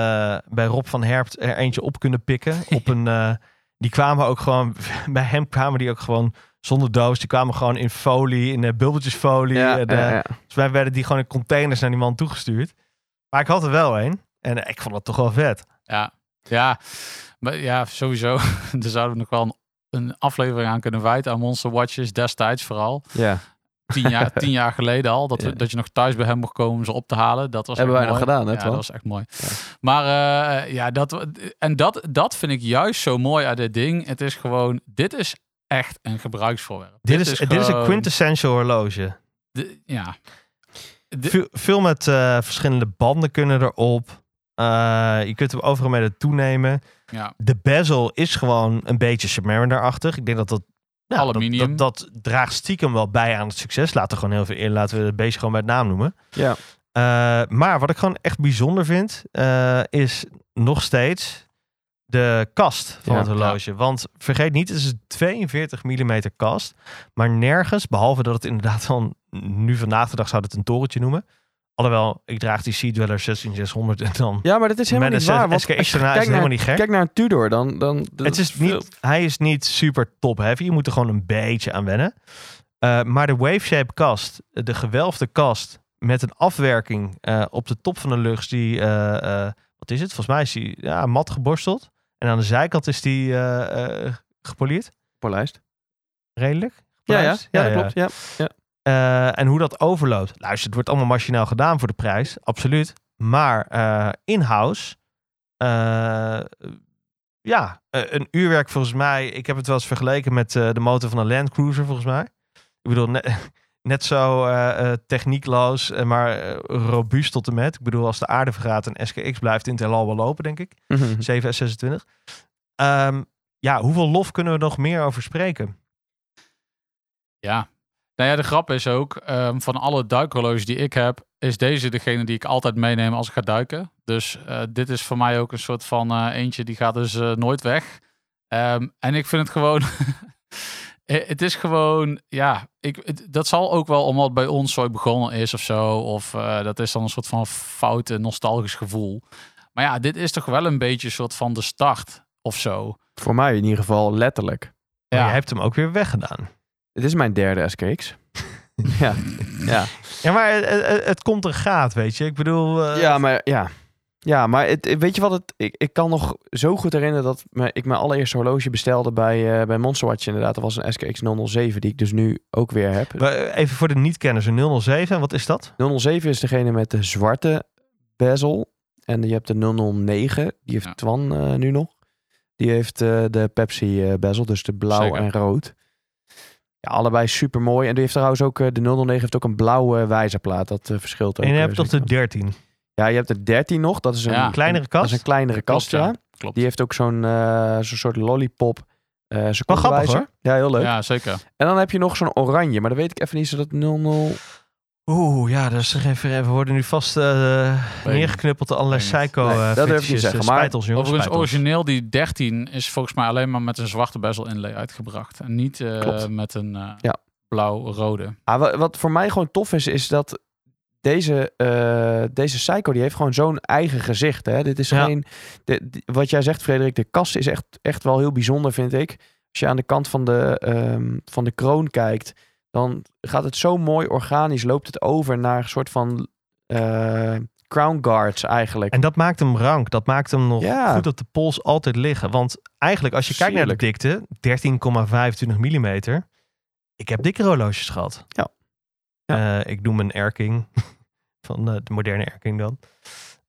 D: bij Rob van Herpt er eentje op kunnen pikken. Op een, eh, die kwamen ook gewoon, bij hem kwamen die ook gewoon zonder doos. Die kwamen gewoon in folie, in eh, bubbeltjesfolie.
E: Ja,
D: en,
E: ja,
D: eh,
E: ja.
D: Volgens mij werden die gewoon in containers naar die man toegestuurd. Maar ik had er wel een. En eh, ik vond dat toch wel vet.
B: Ja, ja. Maar ja, sowieso. Daar zouden we nog wel een, een aflevering aan kunnen wijden aan Monster Watches destijds vooral.
E: Ja.
B: Tien jaar, tien jaar geleden al. Dat, we-
E: Ja.
B: dat je nog thuis bij hem mocht komen om ze op te halen. Dat was
E: Hebben
B: echt
E: wij nog
B: mooi.
E: gedaan, hè,
B: Ja,
E: Twan?
B: dat was echt mooi.
E: Ja.
B: Maar eh, ja, dat, en dat, dat vind ik juist zo mooi aan dit ding. Het is gewoon, dit is echt een gebruiksvoorwerp.
D: Dit, is, dit is een
B: gewoon-
D: quintessential horloge.
B: di- Ja. Di-
D: Veel, veel met eh, verschillende banden kunnen erop. Eh, je kunt hem overal mee naartoe nemen.
B: ja.
D: De bezel is gewoon een beetje Submariner-achtig. Ik denk dat dat Ja,
B: Aluminium.
D: Dat, dat, dat draagt stiekem wel bij aan het succes. Laten we, gewoon heel veel, eer- laten we het beestje gewoon bij het naam noemen.
E: Ja.
D: Eh, maar wat ik gewoon echt bijzonder vind, eh, is nog steeds de kast van
E: Ja.
D: het horloge. Want vergeet niet, het is een 42 mm kast. Maar nergens, behalve dat het inderdaad dan nu vandaag de dag zouden het een torentje noemen. Alhoewel, ik draag die Sea Dweller 16600 en dan...
E: Ja, maar dat is helemaal
D: met
E: niet
D: een
E: waar. Want
D: SK
E: als je
D: extra na is
E: kijkt
D: het
E: naar,
D: helemaal niet gek.
E: kijk naar een Tudor, dan... dan
D: Het is niet, hij is niet super top heavy. Je moet er gewoon een beetje aan wennen. Eh, maar de wave shape kast, de gewelfde kast met een afwerking eh, op de top van de lucht, die, eh, eh, wat is het? Volgens mij is die ja, mat geborsteld. En aan de zijkant is die eh, eh, gepolijst.
E: Polijst.
D: Redelijk.
E: Ja, ja,
D: gepolijst.
E: ja, dat klopt. Ja.
D: Eh, en hoe dat overloopt. Luister, het wordt allemaal machinaal gedaan voor de prijs. Absoluut. Maar eh, in-house. eh, ja, eh, een uurwerk volgens mij. Ik heb het wel eens vergeleken met eh, de motor van een Land Cruiser volgens mij. Ik bedoel, ne- net zo eh, eh, techniekloos, eh, maar eh, robuust tot en met. Ik bedoel, als de aarde vergaat en SKX blijft in het heelal wel lopen, denk ik.
E: Mhm.
D: 7S26. Ehm, ja, hoeveel lof kunnen we nog meer over spreken?
B: Ja. Nou ja, de grap is ook, ehm, van alle duikhorloges die ik heb, is deze degene die ik altijd meeneem als ik ga duiken. Dus eh, dit is voor mij ook een soort van eh, eentje die gaat dus eh, nooit weg. Ehm, en ik vind het gewoon, eh, het is gewoon, ja, ik, het- dat zal ook wel omdat het bij ons zo begonnen is of zo. Of eh, dat is dan een soort van foute, nostalgisch gevoel. Maar ja, dit is toch wel een beetje een soort van de start of zo.
E: Voor mij in ieder geval letterlijk.
D: Ja.
B: Ja.
D: je hebt hem ook weer weggedaan.
E: Het is mijn derde SKX. ja. Ja.
D: Ja, maar het, het- het komt en gaat, weet je. Ik bedoel, eh,
E: ja, maar ja. Ja, maar het, eh, weet je wat? Het, ik, ik kan nog zo goed herinneren dat me, ik mijn allereerste horloge bestelde bij, eh, bij Monster Watch inderdaad. Dat was een SKX 007 die ik dus nu ook weer heb.
D: we- even voor de niet-kenners, een 007, wat is dat?
E: 007 is degene met de zwarte bezel. En je hebt de 009, die heeft
B: Ja.
E: Twan eh, nu nog. Die heeft eh, de Pepsi eh, bezel, dus de blauw
B: Zeker.
E: en rood. Ja, allebei super mooi. En die heeft trouwens ook, eh, de 009 heeft ook een blauwe wijzerplaat. Dat eh, verschilt ook.
D: en je
E: eh,
D: hebt toch de
E: zeker.
D: 13.
E: Ja, je hebt de 13 nog. Dat is een,
B: Ja.
D: Kleinere
E: dat is
D: kast.
E: een kleinere kast,
B: Klopt,
E: ja.
B: ja. Klopt.
E: Die heeft ook zo'n eh, zo'n soort lollipop. eh
D: Wel grappig,
E: secondenwijzer. Ja, heel leuk.
B: Ja, zeker.
E: En dan heb je nog zo'n oranje, maar dat weet ik even niet, zodat 00...
D: Oeh, ja, dat is toch even... We worden nu vast eh neergeknuppeld door allerlei
B: Weet niet.
D: psycho
E: Nee,
D: eh,
E: dat durf ik niet
D: fetishes.
E: zeggen,
D: Eh,
E: maar-
D: Spijt ons, jongens.
B: Overigens,
D: spijt ons.
B: origineel die 13 is volgens mij alleen maar met een zwarte bezel inlay uitgebracht. En niet eh,
E: Klopt.
B: met een eh,
E: Ja.
B: blauw-rode.
E: Ah, wa- wat voor mij gewoon tof is, is dat deze, eh deze Psycho, die heeft gewoon zo'n eigen gezicht. Hè? Dit is
D: Ja.
E: geen... de- die- wat jij zegt, Frederik, de kast is echt, echt wel heel bijzonder, vind ik. Als je aan de kant van de, ehm, van de kroon kijkt, dan gaat het zo mooi organisch, loopt het over naar een soort van eh, crown guards eigenlijk.
D: En dat maakt hem rank. Dat maakt hem nog
E: Ja.
D: goed op de pols altijd liggen. Want eigenlijk, als je kijkt naar de dikte, 13,25 mm. Ik heb dikke horloges gehad.
E: Ja. Ja.
D: Eh, ik noem een Erking. Van eh, de moderne Erking dan.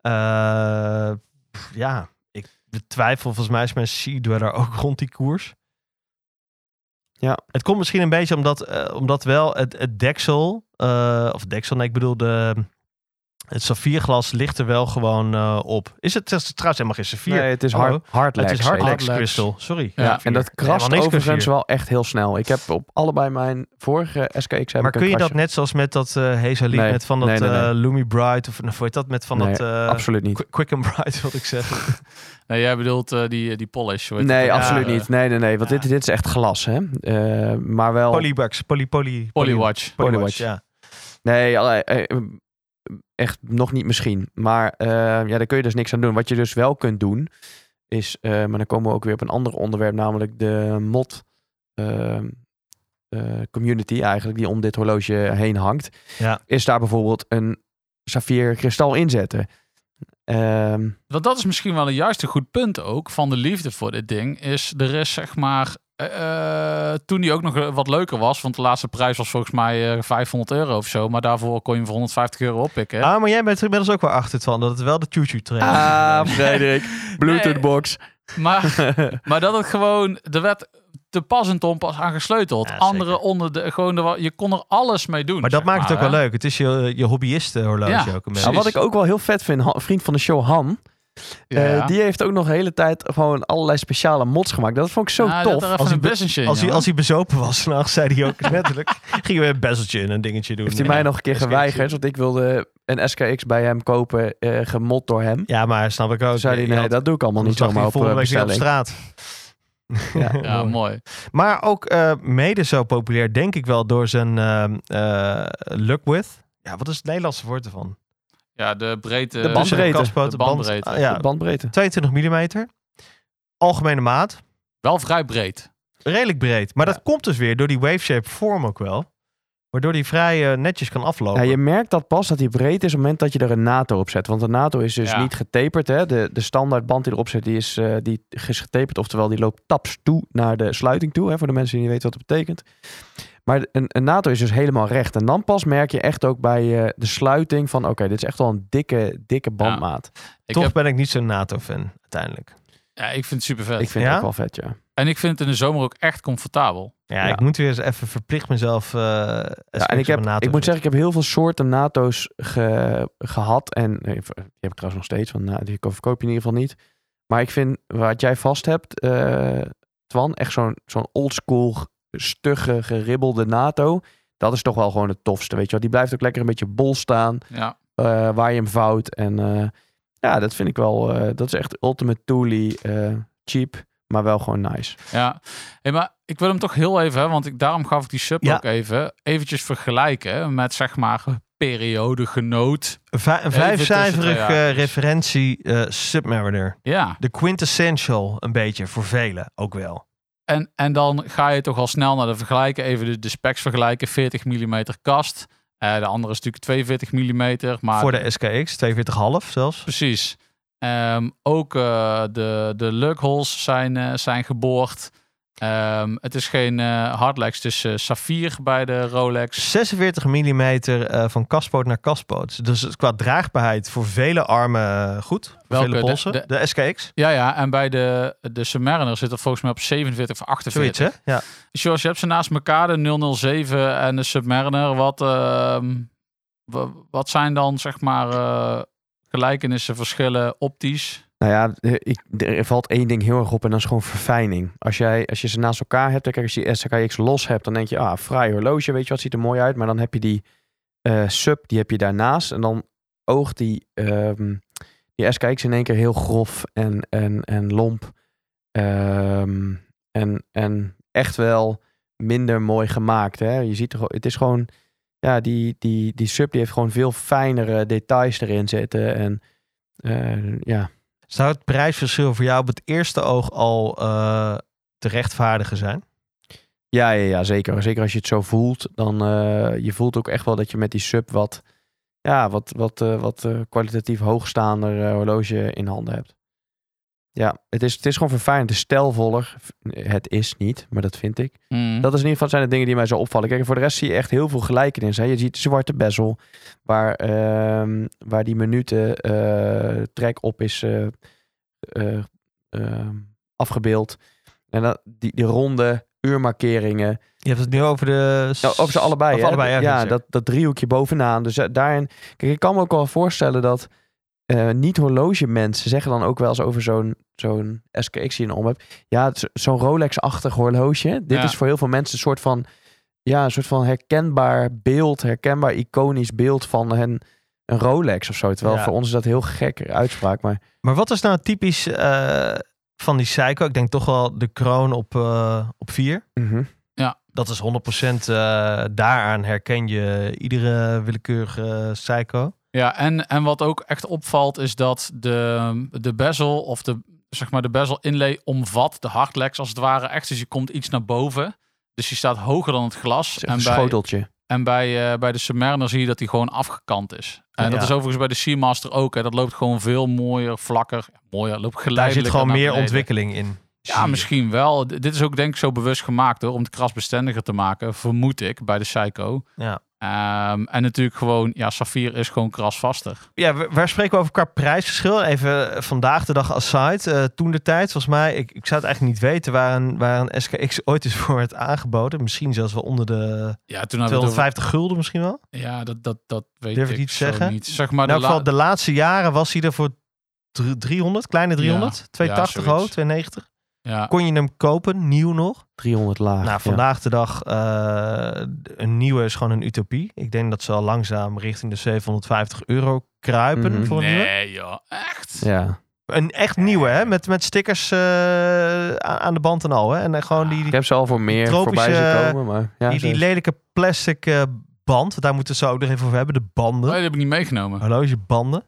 D: Eh, pff, ja, ik betwijfel. Volgens mij is mijn Sea Dweller ook rond die koers.
E: Ja.
D: Het komt misschien een beetje omdat, eh, omdat wel het, het deksel, eh, of deksel, nee, ik bedoel de, het saffierglas ligt er wel gewoon eh, op. Is het, het is trouwens helemaal geen saffier?
E: Nee, het is
D: Hallo.
E: hard, hardlex.
D: het is
E: heet het.
D: hardlex
B: Hardlex.
D: crystal. Sorry.
E: Ja, en dat krast
D: Helemaal niks
E: overigens
D: plezier.
E: wel echt heel snel. Ik heb op allebei mijn vorige SKX heb
D: Maar
E: ik een
D: kun je dat
E: krasje.
D: net zoals met dat eh Hazelin,
E: Nee,
D: met van dat
E: nee, nee, nee.
D: eh, Lumi Bright of nou, hoe heet dat met van
E: Nee,
D: dat eh,
E: Absoluut niet. Oh.
D: Qui- Quick and Bright wil ik zeggen.
B: Nee, jij bedoelt eh, die, die polish. hoe heet
E: Nee,
B: het?
E: absoluut
B: Ja, eh,
E: niet. Nee, nee, nee. Want
B: ja.
E: dit, dit is echt glas, hè? Eh, maar wel...
D: Polybugs, poly poly
B: Polywatch.
D: polywatch.
E: Polywatch.
D: Ja.
E: Nee, alle- eh, echt nog niet misschien. Maar eh, ja, daar kun je dus niks aan doen. Wat je dus wel kunt doen, is... eh, maar dan komen we ook weer op een ander onderwerp, namelijk de mod... eh, eh, community eigenlijk, die om dit horloge heen hangt.
D: Ja.
E: Is daar bijvoorbeeld een saffier kristal inzetten. Ehm
B: Want dat is misschien wel een juist een goed punt ook van de liefde voor dit ding. Is er is zeg maar. eh, eh, toen die ook nog eh, wat leuker was, want de laatste prijs was volgens mij eh, 500 euro of zo. Maar daarvoor kon je hem voor 150 euro oppikken.
D: Ah, maar jij bent er inmiddels ook wel achter het van dat het wel de choo-choo train is.
E: Ah, Frederik.
B: Bluetooth
E: box. Nou,
B: Maar Maar dat het gewoon, er werd te pas en te onpas aan gesleuteld.
D: Ja, zeker.
B: Anderen onder de, gewoon, de, je kon er alles mee doen.
D: Maar dat
B: zeg
D: maakt het ook wel
B: hè.
D: leuk. Het is je, je hobbyisten horloge
B: Ja,
D: ook een
E: Nou,
B: precies.
D: beetje.
E: wat ik ook wel heel vet vind, Han- vriend van de show Han, Eh, die heeft ook nog de hele tijd gewoon allerlei speciale mods gemaakt. Dat vond ik zo
B: Ah,
E: tof.
B: Dat er even
D: Als
B: een
D: hij-
B: bessenje in,
D: Als hij,
B: jongen.
D: als hij bezopen was, s'nachts zei hij ook letterlijk. Gingen we een besseltje en een dingetje doen.
E: Heeft hij mij nog een keer
D: SKX.
E: geweigerd, want ik wilde een SKX bij hem kopen, eh, gemod door hem.
D: Ja, maar snap ik ook.
E: Toen zei hij,
D: Je
E: nee,
D: had-
E: dat doe ik allemaal
D: dan
E: niet
D: zag
E: zomaar
D: hij
E: op eh,
D: volgende week weer op
E: bestelling.
D: straat.
E: Ja.
B: Ja, mooi.
D: Maar ook eh, mede zo populair, denk ik wel, door zijn ehm eh, luck with. Ja, wat is het Nederlandse woord ervan?
B: Ja, de breedte.
E: De band- Bandbreedte.
D: Tussen de
B: Eh,
D: kaspoot,
B: De
D: de band-
B: bandbreedte.
D: ah, ja,
E: De bandbreedte.
D: 22 mm. Algemene maat.
B: Wel vrij breed.
D: Redelijk breed. Maar
B: Ja.
D: dat komt dus weer door die waveshape vorm ook wel. Waardoor die vrij eh, netjes kan aflopen.
E: Ja, je merkt dat pas dat hij breed is op het moment dat je er een NATO op zet. Want de NATO is dus
B: Ja.
E: niet getaperd. Hè? De, de standaard band die erop zit, die is, eh, die is getaperd. Oftewel, die loopt taps toe naar de sluiting toe. Hè? Voor de mensen die niet weten wat dat betekent. Maar een, een NATO is dus helemaal recht. En dan pas merk je echt ook bij eh, de sluiting van... Oké, dit is echt wel een dikke, dikke bandmaat.
B: Ik,
D: Toch
B: heb,
D: ben ik niet zo'n NATO-fan, uiteindelijk.
B: ja, ik vind het super vet.
E: Ik vind
D: Ja?
E: het ook wel vet, ja.
B: En ik vind het in de zomer ook echt comfortabel.
D: Ja,
E: Ja.
D: ik moet weer eens even verplicht mezelf. eh,
E: Ja, en
D: eens
E: ik,
D: op
E: heb, ik
D: een NATO
E: moet
D: zetten.
E: zeggen, ik heb heel veel soorten NATO's ge- gehad. En eh, die heb ik trouwens nog steeds, want nou, die ko- verkoop je in ieder geval niet. Maar ik vind wat jij vast hebt, eh, Twan, echt zo'n zo'n oldschool, g- stugge, geribbelde NATO. Dat is toch wel gewoon het tofste, weet je wel. Die blijft ook lekker een beetje bol staan,
B: Ja.
E: eh, waar je hem vouwt. En eh, ja, dat vind ik wel, eh, dat is echt ultimate toolie, eh, cheap, maar wel gewoon nice.
B: ja. Hey, maar ik wil hem toch heel even, hè, want ik, daarom gaf ik die sub
D: Ja.
B: ook even. Eventjes vergelijken hè, met zeg maar periodegenoot.
D: Een va- een
B: Even
D: vijfcijferige
B: tussen, ja.
D: eh, referentie eh, Submariner.
B: Ja.
D: De quintessential, een beetje, voor velen ook wel.
B: En, en dan ga je toch al snel naar de vergelijken. Even de, de specs vergelijken. 40 mm kast. Eh, de andere is natuurlijk 42 mm. Maar
D: voor de SKX, 42,5 zelfs.
B: Precies. Ehm, ook eh, de, de lugholes zijn, eh, zijn geboord. Ehm, het is geen eh hardlex, het is eh, saffier bij de Rolex.
D: 46 mm van kaspoot naar kaspoot. Dus het- qua draagbaarheid voor vele armen eh, goed. Voor
B: Welke?
D: vele
B: De-
D: polsen. De,
B: de-
D: SKX,
B: Ja, ja, en bij de, de Submariner zit dat volgens mij op 47 of 48.
D: zoiets hè? Ja.
B: George, je hebt ze naast elkaar, de 007 en de Submariner. Wat, ehm, wa- wat zijn dan, zeg maar, eh, gelijkenissen, verschillen optisch?
E: Nou ja, eh, ik, er valt één ding heel erg op en dat is gewoon verfijning. Als, jij, als je ze naast elkaar hebt, hè, kijk, als je die SKX los hebt, dan denk je, ah, fraai horloge, weet je wat, ziet er mooi uit. Maar dan heb je die eh, sub, die heb je daarnaast. En dan oogt die, ehm, die SKX in één keer heel grof en, en, en lomp. Ehm, en, en echt wel minder mooi gemaakt. Hè? Je ziet, er gewoon- het is gewoon, ja, die, die, die sub die heeft gewoon veel fijnere details erin zitten. En eh, ja,
D: Zou het prijsverschil voor jou op het eerste oog al eh, te rechtvaardigen zijn?
E: Ja, ja, ja, zeker. Zeker als je het zo voelt, dan eh, je voelt ook echt wel dat je met die sub wat, ja, wat, wat, eh, wat eh, kwalitatief hoogstaander eh, horloge in handen hebt. Ja, het is, het is gewoon verfijnd. Het is stijlvoller. Het is niet, maar dat vind ik.
B: Hmm.
E: Dat is in ieder geval zijn de dingen die mij zo opvallen. Kijk, en voor de rest zie je echt heel veel gelijkenissen. hè. Je ziet de zwarte bezel, waar, ehm, waar die minuten eh, trek op is eh, eh, ehm, afgebeeld. En dat, die, die ronde uurmarkeringen.
D: Je hebt het nu over de...
E: Ja, over ze allebei.
D: Of
E: hè?
D: allebei, ja,
E: ja,
D: zeker.
E: dat, dat driehoekje bovenaan. Dus eh, daarin. Kijk, ik kan me ook wel voorstellen dat eh, niet-horlogemensen zeggen dan ook wel eens over zo'n zo'n SKX die je om hebt. Ja, het is zo'n Rolex-achtig horloge. Dit
B: Ja.
E: is voor heel veel mensen een soort van. Ja, een soort van herkenbaar beeld, herkenbaar iconisch beeld van hen, een Rolex of zo. Terwijl
D: Ja.
E: voor ons is dat een heel gek uitspraak. Maar
D: Maar wat is nou typisch eh, van die Seiko? Ik denk toch wel de kroon op, eh op vier.
E: mhm.
D: Dat is 100% eh, daaraan herken je iedere willekeurige Seiko.
B: Ja, en, en wat ook echt opvalt is dat de, de bezel of de, zeg maar de bezel inlay omvat de hardlex als het ware echt. Dus je komt iets naar boven. Dus die staat hoger dan het glas.
E: Het is echt
B: En
E: een
B: bij,
E: schoteltje.
B: en bij, eh, bij de Submariner zie je dat die gewoon afgekant is. En
D: Ja.
B: dat is overigens bij de Seamaster ook. Hè. Dat loopt gewoon veel mooier, vlakker. Ja, mooier, loopt
D: Daar
B: geleidelijk.
D: zit gewoon meer ontwikkeling in. Zie
B: Ja,
D: je.
B: misschien wel. D- dit is ook denk ik zo bewust gemaakt hoor. Om het krasbestendiger te maken, vermoed ik, bij de Psycho.
D: Ja.
B: Ehm, en natuurlijk gewoon, ja, Safir is gewoon krasvaster.
D: Ja, w- waar spreken we over qua prijsverschil? Even eh, vandaag de dag aside. eh toen de tijd, volgens mij, ik, ik zou het eigenlijk niet weten waar een, waar een SKX ooit is voor werd aangeboden. Misschien zelfs wel onder de
B: Ja, toen hadden Nou, we het over-
D: 250 gulden misschien wel.
B: Ja, dat, dat, dat weet
D: Durf ik
B: ik
D: niet te
B: zo
D: zeggen?
B: niet. Zeg maar
D: in elk
B: de la-
D: geval, de laatste jaren was hij er voor dr- 300, kleine 300, 280
B: ja,
D: hoog,
B: zoiets.
D: 290.
B: Ja,
D: Kon je hem kopen, nieuw nog?
E: 300 laag. ja.
D: nou, vandaag de dag, eh, een nieuwe is gewoon een utopie. Ik denk dat ze al langzaam richting de 750 euro kruipen
E: Mhm.
D: voor een nieuwe.
B: nee joh, echt?
E: Ja.
D: Een echt nieuwe, hè? Met, met stickers eh, aan aan de band en al, hè? En eh, gewoon die,
E: Ik
D: die,
E: heb ze al voor meer
D: tropische,
E: voorbij zien komen. Maar, ja,
D: die, die
E: zeker.
D: lelijke plastic eh, band. Want daar moeten we het zo ook nog even over hebben. De
B: Nee,
D: banden.
B: dat Oh, heb ik niet meegenomen.
D: Horlogebanden.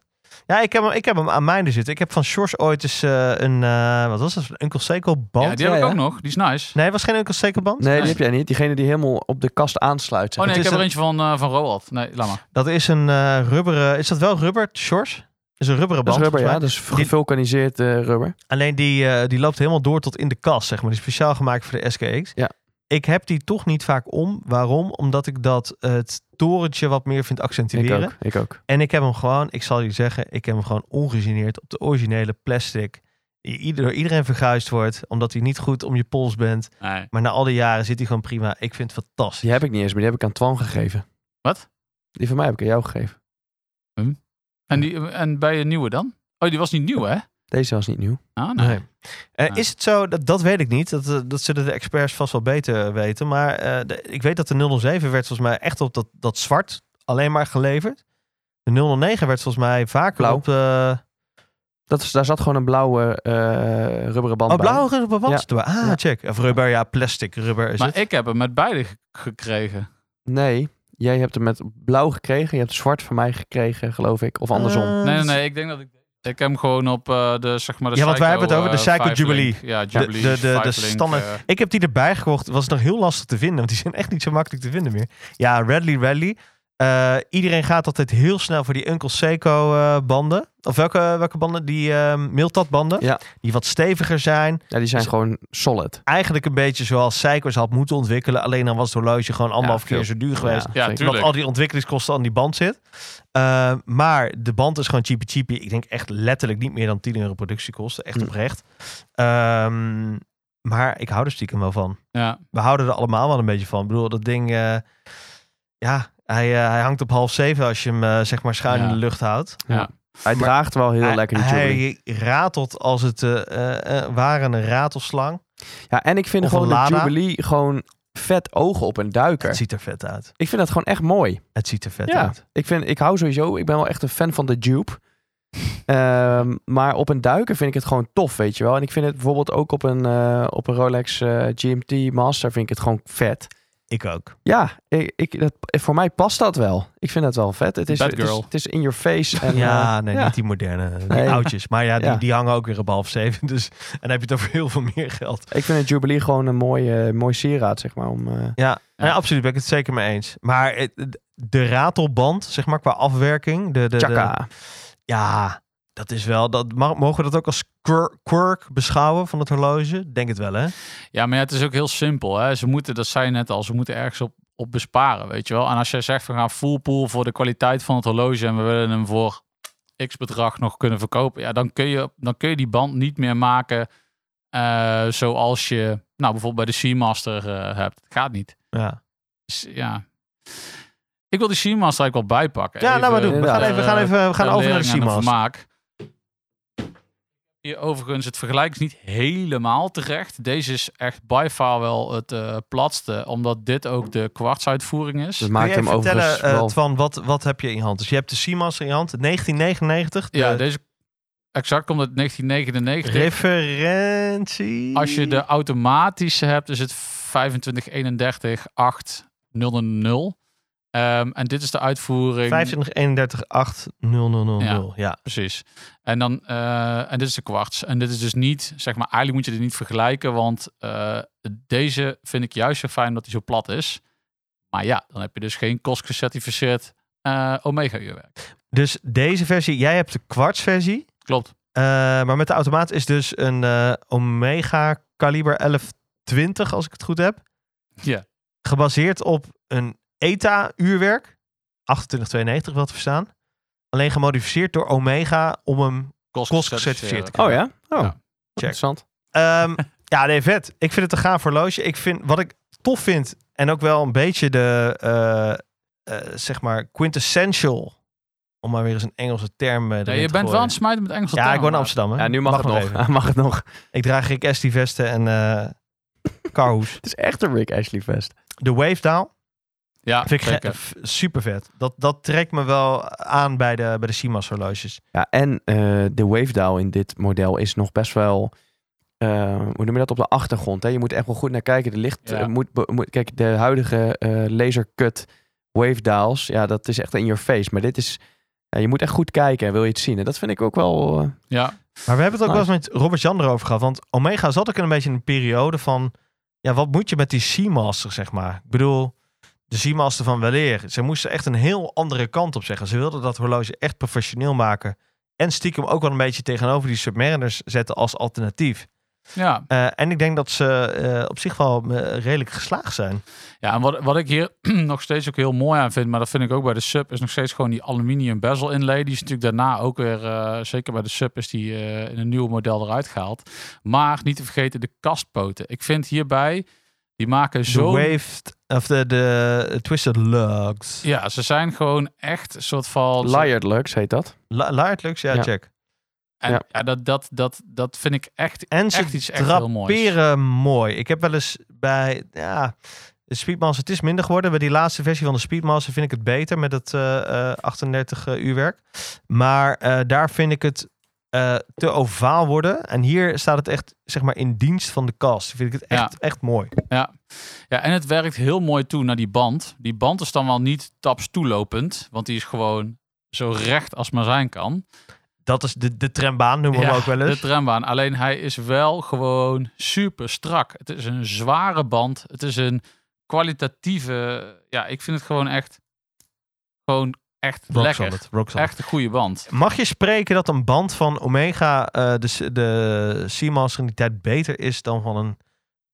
D: Ja, ik heb, hem, ik heb hem aan mijne zitten. Ik heb van Shores ooit eens eh, een, eh, wat was dat, een Uncle Seco band.
B: Ja, die heb ik
D: hè?
B: ook nog. Die is nice.
D: Nee, het was geen Uncle Seco band.
E: Nee, die heb jij niet. Diegene die helemaal op de kast aansluit. zeg
B: Oh nee,
D: Het
B: ik
D: is
B: heb er
D: een-
B: eentje van, eh, van Roald. Nee, laat maar.
D: Dat is een eh rubberen, is dat wel rubber, Shores? Is een rubberen
E: Dat
D: band.
E: is rubber, ja.
D: volgens
E: Dat is gevulkaniseerd eh, rubber.
D: mij. Alleen die, eh, die loopt helemaal door tot in de kast, zeg maar. Die is speciaal gemaakt voor de SKX.
E: Ja.
D: Ik heb die toch niet vaak om. Waarom? Omdat ik dat eh, het torentje wat meer vind
E: Ik
D: accentueren.
E: ook, ik ook.
D: En ik heb hem gewoon, ik zal je zeggen, ik heb hem gewoon ongegeneerd op de originele plastic. Die ieder, door iedereen verguisd wordt, omdat hij niet goed om je pols bent.
B: Nee.
D: Maar na al die jaren zit hij gewoon prima. Ik vind het fantastisch.
E: Die heb ik niet eens, maar die heb ik aan Twan gegeven.
B: Wat?
E: Die van mij heb ik aan jou gegeven.
B: En, die, en bij een nieuwe dan? Oh, die was niet nieuw, hè?
E: Deze was niet nieuw.
B: Ah, nee.
D: Nee. Eh,
B: Ja.
D: Is het zo, dat, dat weet ik niet, dat, eh, dat zullen de experts vast wel beter weten. Maar eh, de- ik weet dat de 007 werd volgens mij echt op dat, dat zwart alleen maar geleverd. De 009 werd volgens mij vaak
E: Blauw.
D: op... eh
E: Dat is, daar zat gewoon een blauwe eh rubberen band
D: oh,
E: bij.
D: blauw op een
E: Ja.
D: wand. Ah,
E: Ja.
D: check. Of rubber, ja, plastic rubber is
B: maar
D: het.
B: ik heb hem met beide ge- gekregen.
E: Nee, jij hebt hem met blauw gekregen. Je hebt zwart van mij gekregen, geloof ik. Of andersom.
D: Eh,
B: Nee, nee, nee. Ik denk dat ik... Ik heb hem gewoon op eh, de, zeg maar, de
D: Ja, want wij
B: Psycho,
D: hebben het over de
B: eh,
D: Psycho
B: Five
D: Jubilee.
B: Link. Ja, Jubilee,
D: de- de- de
B: Five Link,
D: standaard-
B: eh.
D: Ik heb die erbij gekocht. Was nog heel lastig te vinden. Want die zijn echt niet zo makkelijk te vinden meer. Ja, Radley Rally. Eh, iedereen gaat altijd heel snel voor die Uncle Seco eh, banden. Of welke, welke banden? Die ehm Miltat banden.
E: Ja.
D: Die wat steviger zijn.
E: Ja, die zijn
D: Dus-
E: gewoon solid.
D: Eigenlijk een beetje zoals Seiko's had moeten ontwikkelen. Alleen dan was het horloge gewoon anderhalf
E: veel.
D: keer zo duur geweest.
B: Ja,
E: zeker.
B: tuurlijk.
D: Omdat al die ontwikkelingskosten aan die band zit. Eh, maar de band is gewoon cheapy cheapy. Ik denk echt letterlijk niet meer dan 10 euro productiekosten. Echt
E: Hm.
D: oprecht. Ehm, maar ik hou er stiekem wel van
B: Ja.
D: we houden er allemaal wel een beetje van. Ik bedoel, dat ding, eh, ja, hij, eh, hij hangt op half zeven als je hem eh, zeg maar schuin in
B: Ja.
D: de lucht houdt.
E: Hij draagt wel heel
D: hij,
E: lekker, die Jubilee.
D: Hij ratelt als het eh, eh, eh, ware een ratelslang.
E: Ja, en ik vind
D: Of een
E: gewoon de
D: Lada.
E: Jubilee gewoon vet ogen op een duiker.
D: Het ziet er vet uit.
E: Ik vind dat gewoon echt mooi.
D: Het ziet er vet
E: Ja,
D: uit.
E: ik, vind, ik hou sowieso, ik ben wel echt een fan van de Jupe. Ehm, maar op een duiker vind ik het gewoon tof, weet je wel. En ik vind het bijvoorbeeld ook op een, eh, op een Rolex eh, GMT Master vind ik het gewoon vet.
D: Ik ook.
E: Ja, ik, ik, dat, voor mij past dat wel. Ik vind dat wel vet. Het is,
B: Bad
E: het is,
B: girl.
E: het is in your face. En, eh,
D: ja, nee,
E: ja.
D: niet die moderne, die
E: Nee.
D: oudjes. Maar ja, die,
E: Ja.
D: die hangen ook weer op half zeven. Dus, en dan heb je het over heel veel meer geld.
E: ik vind het Jubilee gewoon een mooi, eh, mooi sieraad, zeg maar. Om, eh,
D: Ja,
B: Ja.
D: ja, absoluut. Ben ik het zeker mee eens. Maar eh, de ratelband, zeg maar, qua afwerking. De, de, de,
E: tjaka.
D: Ja, dat is wel. Dat, mag- mogen we dat ook als quir- quirk beschouwen van het horloge? Denk het wel, hè?
B: Ja, maar ja, het is ook heel simpel. Hè? Ze moeten, dat zei je net al, ze moeten ergens op, op besparen, weet je wel. En als jij zegt, we gaan full pool voor de kwaliteit van het horloge en we willen hem voor x bedrag nog kunnen verkopen. Ja, dan kun je, dan kun je die band niet meer maken eh, zoals je, nou bijvoorbeeld bij de Seamaster eh hebt. Gaat niet.
D: Ja,
B: Dus, ja. Ik wil die Seamaster eigenlijk wel bijpakken.
D: ja nou maar doen. We
E: inderdaad.
D: gaan
B: eh,
D: even, we gaan even we gaan
B: de
D: over naar
B: lering en
D: de Siemens.
B: vermaak. Hier overigens, het vergelijk is niet helemaal terecht. Deze is echt by far wel het eh, platste, omdat dit ook de kwartsuitvoering
E: Dat
B: is.
D: Kun
E: maakt
D: je even
E: hem
D: vertellen,
E: overigens
D: eh,
E: wel...
D: Twan, wat, wat heb je in je hand? Dus je hebt de Siemens in je hand, 1999. De
B: Ja, deze exact komt uit 1999.
D: referentie.
B: Als je de automatische hebt, is het 2531 8000. Ehm en dit is de uitvoering.
D: 25 31 8 0 0 0 0. Ja.
B: Precies. En, dan, eh, en dit is de kwarts. En dit is dus niet, zeg maar, eigenlijk moet je dit niet vergelijken, want eh, deze vind ik juist zo fijn omdat hij zo plat is. Maar ja, dan heb je dus geen kostgecertificeerd eh Omega-uurwerk.
D: Dus deze versie, jij hebt de kwartsversie.
B: Klopt.
D: eh, maar met de automaat is dus een eh, Omega kaliber 1120, als ik het goed heb.
B: Ja.
D: gebaseerd op een ETA-uurwerk. 2892 wel te verstaan. Alleen gemodificeerd door Omega om hem... Kostgecertificeerd.
E: Oh ja? Oh,
B: Ja.
E: interessant.
D: Ehm, ja, nee, vet. Ik vind het een gaaf horloge. Ik vind, wat ik tof vind, en ook wel een beetje de, eh, eh, zeg maar, quintessential Om maar weer eens een Engelse term eh,
B: Ja,
D: erin
B: je
D: te
B: bent wel
D: gooien.
B: een smijt met Engelse
D: Ja, ik nou woon in
B: termen,
D: Amsterdam. Hè?
E: Ja, nu mag, het nog.
D: even.
E: Hij mag het nog.
D: Ik draag Rick Astley vesten en eh Carhoes.
E: Het is echt een Rick Ashley vest.
D: De Wave Down
B: Ja,
D: vind ik
B: zeker.
D: ge- f- super vet. Dat, dat trekt me wel aan bij de, bij de Simas horloges.
E: Ja, en eh, de wave dial in dit model is nog best wel... eh, hoe noem je dat op de achtergrond? Hè? Je moet echt wel goed naar kijken. Er ligt,
B: Ja.
E: eh, moet, be- moet, kijk, de huidige eh lasercut wave dials, ja, dat is echt in your face. Maar dit is, ja, je moet echt goed kijken en wil je het zien. En dat vind ik ook wel... eh,
B: Ja,
D: Maar we hebben het ook
E: Nice.
D: wel eens met Robert Jan erover gehad. Want Omega zat ook in een beetje een periode van... Ja, wat moet je met die Seamaster, zeg maar? Ik bedoel, de Seamaster van weleer. Ze moesten echt een heel andere kant op zeggen. Ze wilden dat horloge echt professioneel maken. En stiekem ook wel een beetje tegenover die Submariners zetten als alternatief.
B: ja.
D: Eh, en ik denk dat ze eh, op zich wel eh, redelijk geslaagd zijn.
B: ja en wat, wat ik hier nog steeds ook heel mooi aan vind, maar dat vind ik ook bij de sub, is nog steeds gewoon die aluminium bezel inlay. Die is natuurlijk daarna ook weer, eh, zeker bij de sub, is die eh, in een nieuw model eruit gehaald. Maar niet te vergeten de kastpoten. Ik vind hierbij, die maken
D: De
B: zo...
D: waved, of de, de twisted lugs.
B: Ja, ze zijn gewoon echt een soort van...
E: Layered Lux heet dat.
D: La, Laard lugs, ja,
E: Ja.
D: check.
B: En
E: Ja.
B: ja. dat, dat, dat, dat vind ik echt,
D: En ze
B: echt iets echt heel moois.
D: draperen mooi. Ik heb wel eens bij, ja, de Speedmaster, het is minder geworden. Bij die laatste versie van de Speedmaster vind ik het beter met het eh, eh, 38 eh, uur werk. Maar eh, daar vind ik het eh, te ovaal worden. En hier staat het echt, zeg maar, in dienst van de kast. Vind ik het echt, echt mooi.
B: Ja, en het werkt heel mooi toe naar die band. Die band is dan wel niet taps toelopend, want die is gewoon zo recht als maar zijn kan.
D: Dat is de, de trambaan, noemen we hem ook wel
B: de
D: eens.
B: trambaan. Alleen hij is wel gewoon super strak. Het is een zware band. Het is een kwalitatieve... Ja, ik vind het gewoon echt... Gewoon echt
D: Rock
B: lekker.
D: solid, rock solid.
B: Echt een goede band.
D: Mag je spreken dat een band van Omega, eh, de, de Seamaster in die tijd, beter is dan van een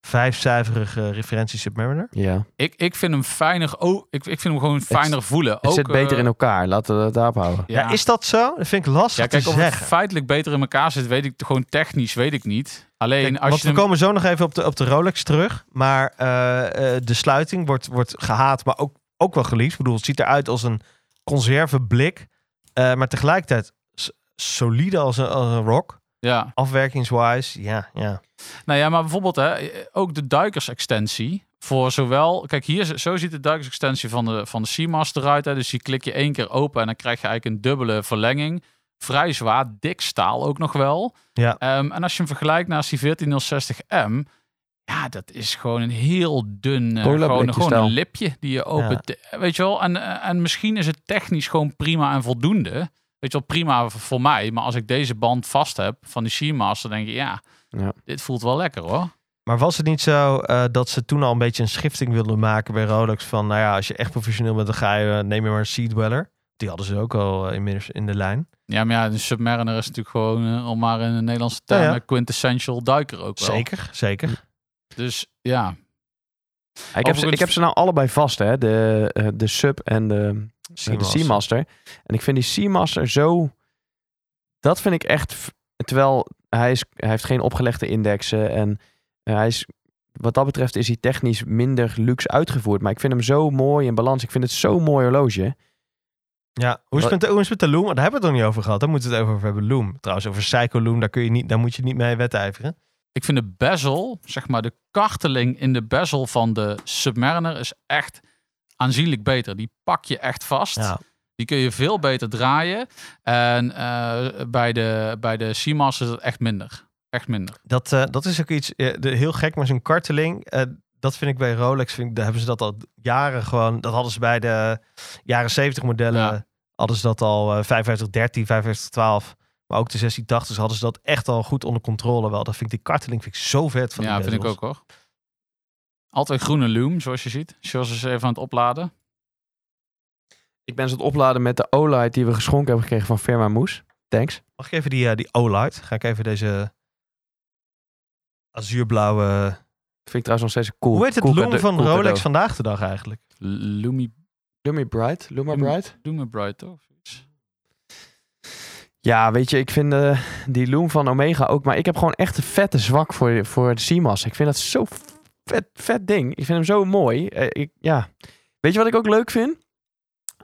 D: vijfcijferige referentie Submariner?
E: Ja.
B: Ik, ik vind hem fijner... Oh, ik, ik vind hem gewoon fijner voelen.
E: Het
B: ook,
E: zit beter
B: eh,
E: in elkaar. Laten we het daarop houden.
D: Ja. is dat zo? Dat vind ik lastig
B: Ja, kijk,
D: te
B: of het
D: zeggen.
B: feitelijk beter in elkaar zit, weet ik gewoon technisch, weet ik niet. Alleen
D: Kijk,
B: als
D: want
B: je
D: we
B: hem-
D: komen zo nog even op de, op de Rolex terug. Maar eh, eh, de sluiting wordt, wordt gehaat, maar ook, ook wel geliefd. Ik bedoel, het ziet eruit als een conserveblik. eh, maar tegelijkertijd s- solide als een, als een rock.
B: ja.
D: Afwerkingswise, ja, ja.
B: Nou ja, maar bijvoorbeeld hè, ook de duikersextensie voor zowel... Kijk, hier, z- zo ziet de duikersextensie van de, van de Seamaster eruit. Hè, dus die klik je één keer open en dan krijg je eigenlijk een dubbele verlenging. Vrij zwaar, dik staal ook nog wel.
D: Ja.
B: Ehm, en als je hem vergelijkt naast die 14060M... Ja, dat is gewoon een heel dun, eh,
E: Cola
B: gewoon,
E: blikje
B: gewoon
E: staal.
B: een lipje die je opent. Weet je wel, en, eh, en misschien is het technisch gewoon prima en voldoende. Weet je wel, prima v- voor mij. Maar als ik deze band vast heb van die Seamaster, denk je, ja,
E: Ja.
B: dit voelt wel lekker hoor.
D: Maar was het niet zo eh, dat ze toen al een beetje een schifting wilden maken bij Rolex? Van nou ja, als je echt professioneel bent, dan ga je, eh, neem je maar een Sea Dweller. Die hadden ze ook al eh, inmiddels in de lijn.
B: Ja, maar ja, de Submariner is natuurlijk gewoon, eh, om maar in een Nederlandse term,
D: Ja, ja.
B: een quintessential duiker ook wel.
D: Zeker, zeker.
B: Dus ja,
E: Ik heb, ze,
B: Overigens-
E: ik heb ze nou allebei vast, hè? De, eh, de sub en de, eh, de
D: Seamaster.
E: Seamaster. En ik vind die Seamaster zo. Dat vind ik echt. f- Terwijl hij, is, hij heeft geen opgelegde indexen. En eh, hij is. Wat dat betreft is hij technisch minder luxe uitgevoerd. Maar ik vind hem zo mooi in balans. Ik vind het zo'n mooi horloge.
D: Ja, hoe is, het
E: Wat-
D: met de, hoe is het met de Loom? Daar hebben we het nog niet over gehad. Daar moeten we het even over hebben. Loom. Trouwens, over Psycho Loom, daar, kun je niet, daar moet je niet mee wedijveren.
B: ik vind de bezel, zeg maar de karteling in de bezel van de Submariner is echt aanzienlijk beter. Die pak je echt vast.
D: Ja.
B: Die kun je veel beter draaien. En eh, bij de, bij de Seamaster is dat echt minder. Echt minder.
D: Dat, eh, dat is ook iets eh, de, heel gek, maar zo'n karteling, eh, dat vind ik bij Rolex, vind ik, daar hebben ze dat al jaren gewoon, dat hadden ze bij de jaren 70 modellen,
B: Ja.
D: hadden ze dat al eh, 5513, 5512, maar ook de 1680 hadden ze dat echt al goed onder controle wel. Dat vind ik, die karteling vind ik zo vet van die
B: ja, vind ik
D: bezels.
B: ook hoor. Altijd groene loom, zoals je ziet. Charles is even aan het opladen.
E: Ik ben ze aan het opladen met de Olight die we geschonken hebben gekregen van Firma Moes. Thanks.
D: Mag ik even die, eh, die O-Light, ga ik even deze azuurblauwe,
E: Vind ik trouwens nog steeds een cool.
D: hoe heet het
E: cool
D: loom
E: cade-
D: van
E: cool
D: Rolex
E: cadeau.
D: vandaag de dag eigenlijk?
B: Lumi,
E: Lumi Bright. Luma
B: Lumi-
E: Bright.
B: Lumi Bright toch? Zoiets.
E: Ja, weet je, ik vind eh, die Loom van Omega ook. Maar ik heb gewoon echt een vette zwak voor, voor de Seamaster. Ik vind dat zo vet, vet ding. Ik vind hem zo mooi. Eh, ik, ja. Weet je wat ik ook leuk vind?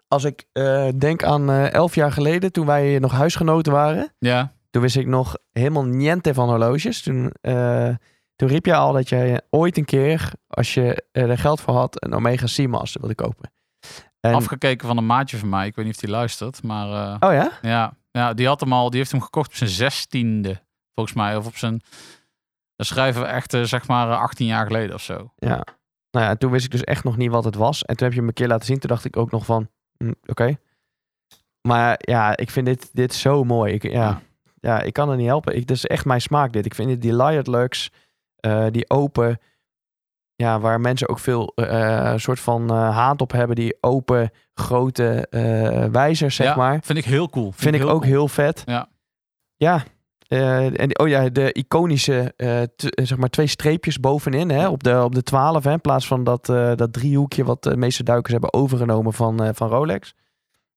E: als ik eh, denk aan eh, elf jaar geleden, toen wij nog huisgenoten waren.
B: Ja.
E: Toen wist ik nog helemaal niente van horloges. Toen, eh, toen riep jij al dat jij ooit een keer, als je eh, er geld voor had, een Omega Seamaster wilde kopen. En,
B: Afgekeken van een maatje van mij. Ik weet niet of die luistert, maar eh,
E: oh ja?
B: ja. ja, die had hem al. Die heeft hem gekocht op zijn zestiende, volgens mij, of op zijn. Dan schrijven we echt, eh, zeg maar, eh, 18 jaar geleden of zo.
E: Ja. Nou ja, toen wist ik dus echt nog niet wat het was. En toen heb je hem een keer laten zien. Toen dacht ik ook nog van, hm, oké. Maar ja, ik vind dit, dit zo mooi. Ik, ja, ja.
B: Ja.
E: ik kan het niet helpen. Ik, dit is echt mijn smaak dit. Ik vind dit, die Liard Lux, eh, die open... Ja, waar mensen ook veel eh, soort van eh, haat op hebben. Die open, grote eh, wijzers, zeg
B: Ja.
E: maar.
B: Vind ik heel cool.
E: Vind ik ook
B: cool.
E: heel vet.
B: Ja.
E: Ja. Eh, en die- oh ja, de iconische eh, t- eh, zeg maar twee streepjes bovenin hè, op, de, op de 12. Hè, in plaats van dat, eh, dat driehoekje wat de meeste duikers hebben overgenomen van, eh, van Rolex.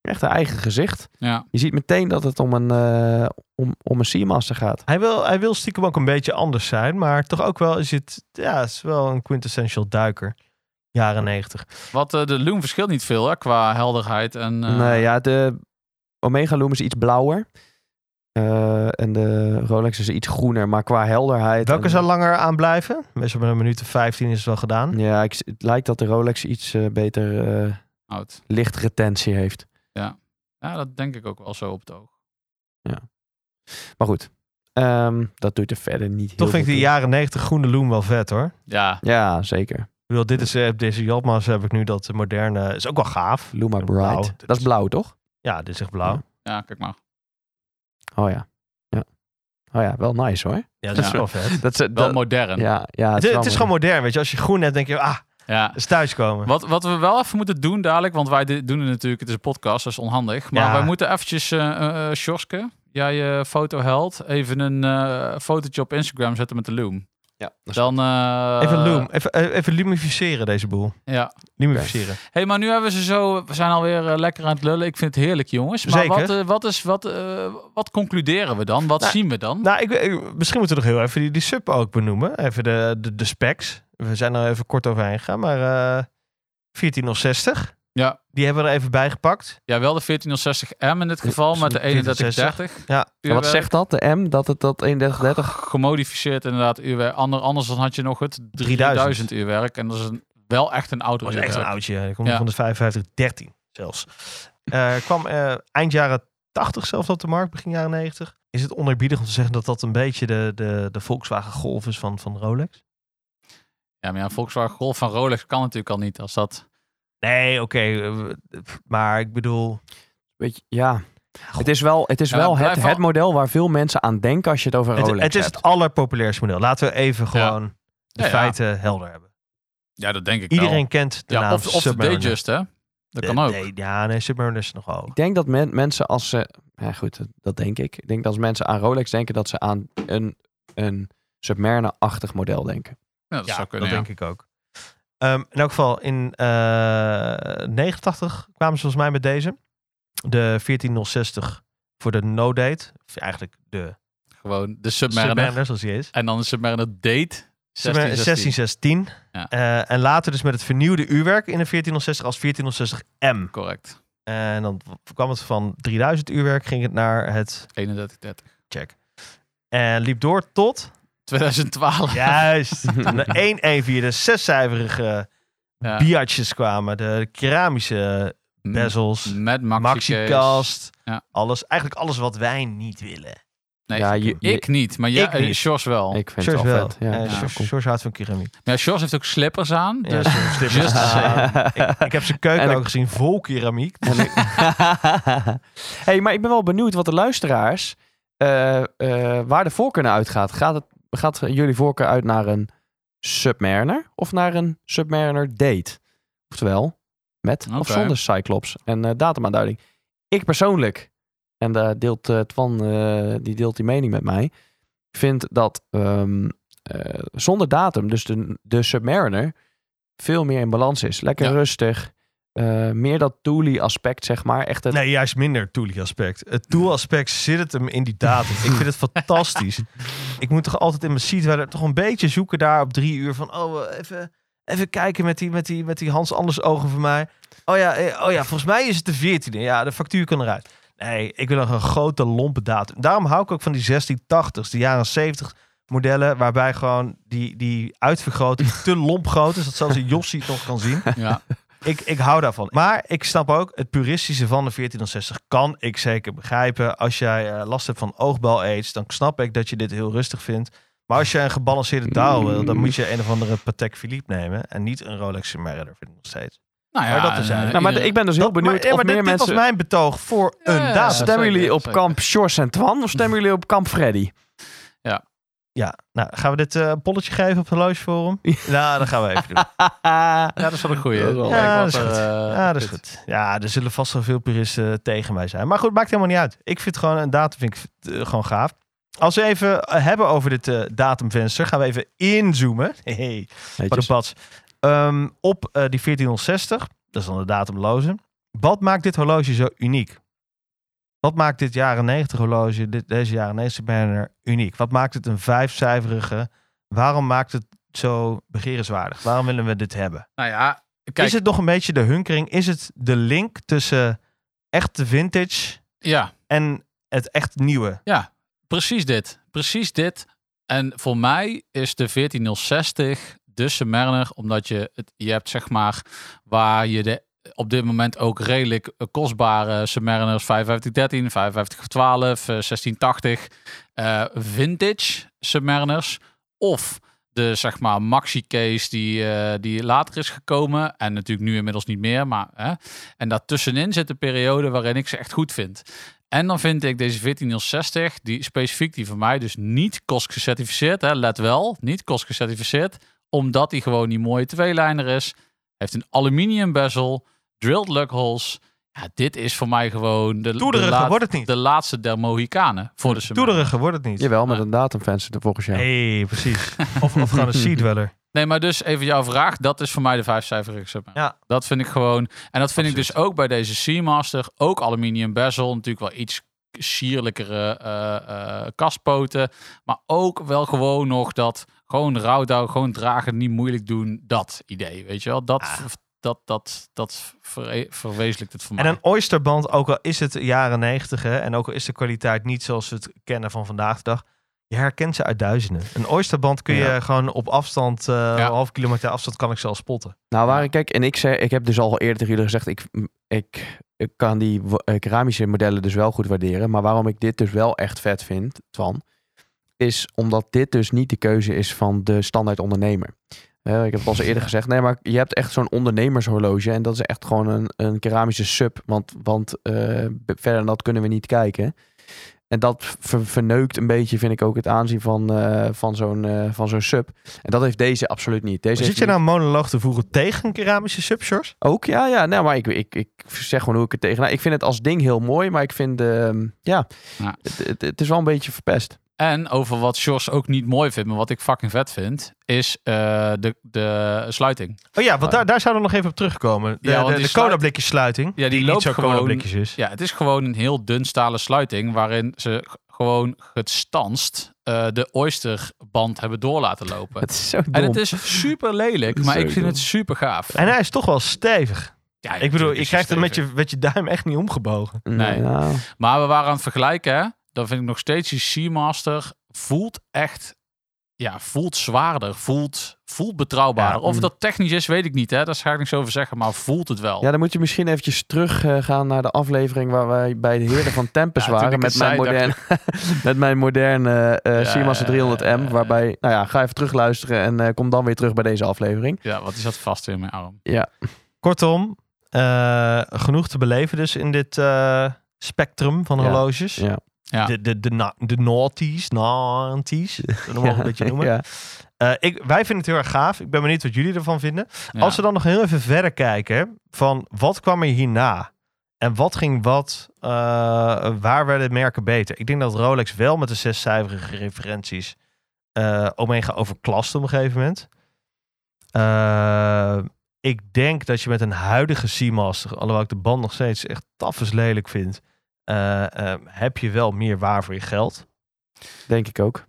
E: Echt een eigen gezicht.
B: Ja.
E: Je ziet meteen dat het om een, eh om, om een Seamaster gaat.
D: Hij wil, hij wil stiekem ook een beetje anders zijn, maar toch ook wel is het, ja, het is wel een quintessential duiker. Jaren 90.
B: Wat eh, de Loom verschilt niet veel hè, qua helderheid en. eh,
E: Nee, ja, de Omega Loom is iets blauwer. Eh, en de Rolex is iets groener, maar qua helderheid...
D: Welke
E: en-
D: zou langer aan blijven? Meestal bij een minuut of 15 is het wel gedaan.
E: Ja, ik, het lijkt dat de Rolex iets eh, beter... eh,
B: Oud.
E: lichtretentie heeft.
B: Ja, dat denk ik ook wel zo op het oog.
E: Maar goed, ehm, dat doet er verder niet heel
D: Toch vind ik
E: veel
D: die
E: toe.
D: jaren 90 groene loom wel vet hoor.
B: Ja.
E: Ja, zeker.
D: Ik bedoel, dit is, eh, deze Jatmas heb ik nu dat moderne, is ook wel gaaf.
E: Luma Bright.
D: Blauw.
E: Dat is blauw, toch?
D: Ja, dit is echt blauw.
E: Ja.
B: Ja, kijk maar.
E: Oh ja. ja. Oh ja, wel nice hoor.
D: Ja, dat is
B: Ja.
D: wel vet.
E: Dat, is- dat,
B: Wel modern. Ja.
E: ja, ja,
D: Het,
E: is wel
D: het is gewoon modern, weet je. Als je groen hebt, denk je, ah, het is thuiskomen.
B: Wat, wat we wel even moeten doen dadelijk, want wij di- doen het natuurlijk, het is een podcast, dat is onhandig. Maar
D: Ja.
B: wij moeten eventjes, eh eh, eh, Sjorske, jij eh, fotoheld, even een eh fotootje op Instagram zetten met de Loom.
E: Ja, dat is-
B: Dan, eh,
D: Even loom, even, eh, even lumificeren deze boel.
B: Ja.
D: Lumificeren.
B: hey, maar nu hebben ze zo, we zijn alweer eh, lekker aan het lullen. Ik vind het heerlijk, jongens. Maar
D: Zeker.
B: Wat, eh, wat, is, wat, eh, wat concluderen we dan? Wat
D: Nou,
B: zien we dan?
D: Nou, ik, ik- misschien moeten we nog heel even die, die sub ook benoemen. Even de, de, de specs. We zijn er even kort overheen gegaan, maar eh 1460.
B: Ja.
D: Die hebben we er even bij gepakt.
B: ja, wel de 1460M in dit geval, met de 3130.
D: Ja.
E: En wat
B: Uurwerk.
E: zegt dat? De M, dat het dat 3130?
B: gemodificeerd inderdaad uurwerk. Ander, anders dan had je nog het
D: 3000.
B: 3000 uurwerk. En dat is een, wel echt een oud
D: Dat was
B: uurwerk.
D: echt een oudje. Ik kom
B: Ja.
D: van de 55, 13 zelfs. Eh, kwam eh, eind jaren 80 zelfs op de markt, begin jaren 90. Is het onerbiedig om te zeggen dat dat een beetje de, de, de Volkswagen Golf is van, van Rolex?
B: Ja, maar ja, Volkswagen Golf van Rolex kan natuurlijk al niet. Als dat...
D: Nee, oké. eh, maar ik bedoel...
E: Weet je, ja. Het is wel het, is
B: Ja,
E: wel
B: maar
E: het,
B: blijf wel-
E: het model waar veel mensen aan denken als je het over
D: Het,
E: Rolex
D: het is
E: hebt.
D: het allerpopulairste model. Laten we even
B: Ja.
D: gewoon de
B: Ja, ja.
D: feiten helder hebben.
B: Ja, dat denk ik
D: Iedereen
B: wel.
D: kent de
B: Ja,
D: naam
B: of, of de
D: Submariner.
B: Datejust, hè? Dat
D: De-
B: kan ook.
D: nee, ja, nee, Submariner is nog hoog.
E: Ik denk dat men, mensen als ze... Ja goed, dat, dat denk ik. Ik denk dat als mensen aan Rolex denken, dat ze aan een, een Submariner-achtig model denken.
B: Ja, dat
D: ja,
B: zou kunnen,
D: dat
B: ja.
D: denk ik ook. Ehm, in elk geval, in eh 89 kwamen ze volgens mij met deze. De 1460 voor de no-date. Of eigenlijk de
B: Gewoon de Submariner.
D: Submariner, zoals die is.
B: En dan de Submariner Date. 16, 16.
D: 1616.
B: Ja.
D: Eh, en later dus met het vernieuwde uurwerk in de 1460 als 1460M.
B: Correct.
D: En dan kwam het van 3000 uurwerk, ging het naar het
B: 31, 30.
D: check. En liep door tot...
B: 2012.
D: Juist. Toen de 114, de zescijferige
B: Ja. Mm.
D: biatjes kwamen. De keramische bezels,
B: Met maxi
D: maxi maxicast.
B: Ja.
D: Alles, eigenlijk alles wat wij niet willen.
B: Nee,
E: Ja, je-
B: ik niet, maar jij,
D: Ik niet.
B: eh, Sjors wel.
E: Ik vind
D: George
E: het wel,
D: wel.
E: vet. Ja,
D: Eh,
E: ja,
D: George-
E: cool.
D: George houdt van keramiek.
B: Ja, Sjors heeft ook slippers aan.
D: Ja,
B: Dus
D: George heeft slippers
B: just
D: aan. Ehm, ik, ik heb zijn keuken
E: En ik-
D: ook gezien vol keramiek.
E: En ik- hey, maar ik ben wel benieuwd wat de luisteraars eh, eh, waar de voorkeur naar uitgaat. Gaat, het, gaat jullie voorkeur uit naar een Submariner of naar een Submariner date? Oftewel, met of
B: Oké.
E: zonder Cyclops en eh, datumaanduiding. Ik persoonlijk, en daar deelt eh, Twan, eh, die deelt die mening met mij, vind dat ehm, eh, zonder datum, dus de, de Submariner, veel meer in balans is. Lekker
B: Ja.
E: rustig. eh, meer dat Thule aspect, zeg maar. Echt het
D: Nee, juist minder Thule-aspect. Het Thule-aspect zit het hem in die datum. ik vind het fantastisch. ik moet toch altijd in mijn seat wel toch een beetje zoeken daar op drie uur van... Oh, eh, even, Even kijken met die, met die, met die Hans Anders ogen van mij. Oh ja, eh, oh ja, volgens mij is het de 14e. Ja, de factuur kan eruit. Nee, ik wil nog een grote lompe datum. Daarom hou ik ook van die 1680s, de jaren 70 modellen, waarbij gewoon die, die uitvergroting te lomp groot is, dat zelfs een Jossie het nog kan zien.
B: Ja. Nou
D: Ik, ik hou daarvan. Maar ik snap ook, het puristische van de 1460 kan ik zeker begrijpen. Als jij eh, last hebt van oogbal aids, dan snap ik dat je dit heel rustig vindt. Maar als je een gebalanceerde taal wil, dan moet je een of andere Patek Philippe nemen. En niet een Rolex Submariner, vind ik nog steeds.
B: Nou ja,
D: Maar dat is
B: en,
D: eigenlijk-
B: eh,
E: Nou, maar
B: ieder-
E: ik ben dus heel
D: Dat-
E: benieuwd
D: maar, ja,
E: of
D: maar
E: meer
D: dit, dit
E: mensen...
D: was mijn betoog voor
B: Ja,
D: een
B: ja,
D: daad.
B: ja.
E: Stemmen
B: Zeker,
E: jullie op
B: zeker.
E: kamp Sjors en Twan of stemmen jullie op kamp Freddy?
D: Ja, nou, gaan we dit eh polletje geven op het horlogeforum? nou, dat gaan we even doen.
B: ja, dat is wel een goeie.
E: Dat is wel-
B: Kijk
D: Ja,
B: wat
D: dat is
B: er,
D: goed.
B: eh,
D: Ja, dat is
B: zit.
D: goed. Ja, er zullen vast wel veel puristen tegen mij zijn. Maar goed, maakt helemaal niet uit. Ik vind gewoon een datum vind ik, eh, gewoon gaaf. Als we even eh, hebben over dit eh, datumvenster, gaan we even inzoomen. Hey,
E: Weet
D: wat een pats. Ehm, op eh, die 1460, dat is dan de datumloze. Wat maakt dit horloge zo uniek? Wat maakt dit jaren 90 horloge, dit, deze jaren 90 banner uniek? Wat maakt het een vijfcijferige? Waarom maakt het zo begerenswaardig? Waarom willen we dit hebben?
B: Nou ja, kijk.
D: Is het nog een beetje de hunkering? Is het de link tussen echt de vintage
B: Ja,
D: en het echt nieuwe?
B: precies dit. Precies dit. En voor mij is de 14060 de Submariner, omdat je het, je hebt zeg maar waar je de op dit moment ook redelijk eh, kostbare Submariners 5513, 5512, eh, 1680 eh, vintage Submariners of de zeg maar maxi case die, eh, die later is gekomen en natuurlijk nu inmiddels niet meer, maar hè. en daartussenin zit de periode waarin ik ze echt goed vind. En dan vind ik deze 14060, die specifiek die van mij dus niet kostgecertificeerd, hè, let wel, niet kostgecertificeerd, omdat die gewoon die mooie tweelijner is. Heeft een aluminium bezel, drilled lug holes. Ja, dit is voor mij gewoon de, de,
D: Toederiger
B: laat-
D: wordt het niet.
B: de laatste der Mohikanen voor de Submariner.
D: Toederiger wordt het niet.
E: Jawel, met een datumvenster volgens jou.
D: Nee, precies. Of, of gewoon een sea dweller.
B: Nee, maar dus even jouw vraag. Dat is voor mij de vijfcijferige Submariner.
D: Ja.
B: Dat vind ik gewoon... En dat vind ik dus ook bij deze Seamaster. Ook aluminium bezel. Natuurlijk wel iets sierlijkere eh, eh, kastpoten. Maar ook wel gewoon nog dat... Gewoon rouwdouw, gewoon dragen, niet moeilijk doen. Dat idee, weet je wel? Dat,
D: Ah.
B: dat, dat, dat verre- verwezenlijkt het voor
D: En
B: mij.
D: een oysterband, ook al is het jaren 90 hè, en ook al is de kwaliteit niet zoals we het kennen van vandaag de dag, je herkent ze uit duizenden. Een oysterband kun je
E: Ja.
D: gewoon op afstand, eh, een
B: Ja.
D: half kilometer afstand, kan ik ze al spotten.
E: Nou, waar
B: Ja.
E: ik kijk, en ik, zei, ik heb dus al eerder tegen jullie gezegd, ik, ik, ik kan die wo- eh, keramische modellen dus wel goed waarderen. Maar waarom ik dit dus wel echt vet vind, Twan, is omdat dit dus niet de keuze is van de standaard ondernemer. Eh, ik heb het al eens eerder gezegd, nee, maar je hebt echt zo'n ondernemershorloge en dat is echt gewoon een, een keramische sub, want, want eh, be- verder dan dat kunnen we niet kijken. En dat ver- verneukt een beetje, vind ik ook, het aanzien van, eh, van zo'n eh, van zo'n sub. En dat heeft deze absoluut niet. Deze
D: Zit
E: heeft
D: je
E: niet-
D: nou een monoloog te voegen tegen keramische subshorts?
E: ook, ja, ja. Nou, maar ik, ik, ik zeg gewoon hoe ik het tegen. Nou, ik vind het als ding heel mooi, maar ik vind, ehm, ja,
B: Ja.
E: Het, het, het is wel een beetje verpest.
B: En over wat Sjors ook niet mooi vindt, maar wat ik fucking vet vind, is eh, de, de sluiting.
D: Oh ja, want daar, daar zouden we nog even op terugkomen. De,
B: Ja, want
D: de,
B: die
D: de
B: sluit-
D: cola-blikjes sluiting.
B: die
D: niet
B: loopt
D: zo
B: gewoon-
D: cola-blikjes is.
B: Ja, het is gewoon een heel dun stalen sluiting waarin ze g- gewoon gestanst eh, de oysterband hebben door laten lopen.
E: Het is zo dom.
B: en het is super lelijk,
E: is
B: maar
E: zo
B: ik vind
E: dom.
B: het super gaaf.
D: En hij is toch wel stevig.
B: Ja,
D: Ik bedoel,
B: natuurlijk
D: je
B: is
D: krijgt
B: het
D: hem met
B: stevig.
D: je, met je duim echt niet omgebogen.
B: nee.
E: nou,
B: Maar we waren aan het vergelijken, hè? Dan vind ik nog steeds die Seamaster voelt echt, ja, voelt zwaarder, voelt, voelt betrouwbaarder.
E: Ja,
B: of
E: mm.
B: dat technisch is, weet ik niet, hè? Daar ga ik niks over zeggen, maar voelt het wel.
E: ja, dan moet je misschien eventjes teruggaan gaan naar de aflevering waar wij bij de heren van Tempest
B: Ja, toen
E: waren
B: ik
E: met
B: het
E: mijn,
B: zei,
E: moderne, met mijn moderne eh
B: Ja,
E: Seamaster
B: ja, ja,
E: 300M.
B: ja.
E: Waarbij, nou ja, ga even terugluisteren en eh, kom dan weer terug bij deze aflevering.
B: Ja, wat is dat vast in mijn arm?
D: Kortom, eh, genoeg te beleven dus in dit eh, spectrum van
E: Ja.
D: horloges.
E: Ja.
B: Ja.
D: De, de, de, na- de naughties, naughties, dat mogen we een beetje noemen.
E: Ja.
D: Eh, ik, wij vinden het heel erg gaaf. Ik ben benieuwd wat jullie ervan vinden.
B: Ja.
D: Als we dan nog heel even verder kijken, van wat kwam er hierna? En wat ging wat, eh, waar werden merken beter? Ik denk dat Rolex wel met de zescijferige referenties eh, Omega overklast op een gegeven moment. Eh, ik denk dat je met een huidige Seamaster, alhoewel ik de band nog steeds echt taf is lelijk vind, eh, eh, heb je wel meer waar voor je geld.
E: Denk ik ook.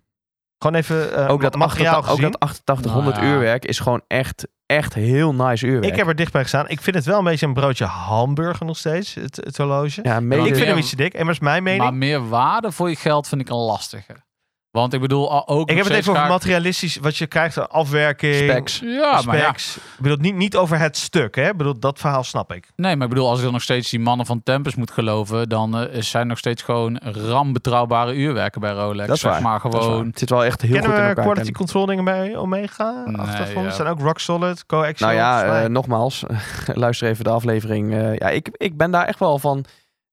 D: Gewoon even eh
E: ook, dat
D: materiaal
E: 88, ook
D: gezien.
E: dat 8800
B: Nou ja.
E: uurwerk is gewoon echt echt heel nice uurwerk.
D: Ik heb er dichtbij gestaan. Ik vind het wel een beetje een broodje hamburger nog steeds, het, het horloge.
E: ja, mede-
D: Ik
B: Ja.
D: vind hem iets te dik. En wat is mijn mening?
B: Maar meer waarde voor je geld vind ik een lastige. Want ik bedoel, a- ook.
D: ik
B: nog
D: heb het
B: steeds
D: even over
B: graag-
D: materialistisch, wat je krijgt aan afwerking.
E: specs.
B: Ja, maar ja.
D: specs. Ik bedoel, niet, niet over het stuk, hè. Ik bedoel, dat verhaal snap ik.
B: Nee, maar ik bedoel, als ik dan nog steeds die mannen van Tempus moet geloven, dan eh, zijn nog steeds gewoon rambetrouwbare uurwerken bij Rolex.
E: Dat is
B: zeg
E: waar.
B: Maar
E: Dat is waar.
B: gewoon.
E: Het zit wel echt heel goed in
D: Kennen we
E: elkaar.
D: quality
E: Tim.
D: control dingen bij Omega?
B: Nee,
D: Achtergrond.
B: ja.
D: Zijn ook Rock Solid, Co-Action.
E: Nou ja,
D: volgens mij.
E: eh, nogmaals, luister even de aflevering. Eh, ja, ik, ik ben daar echt wel van.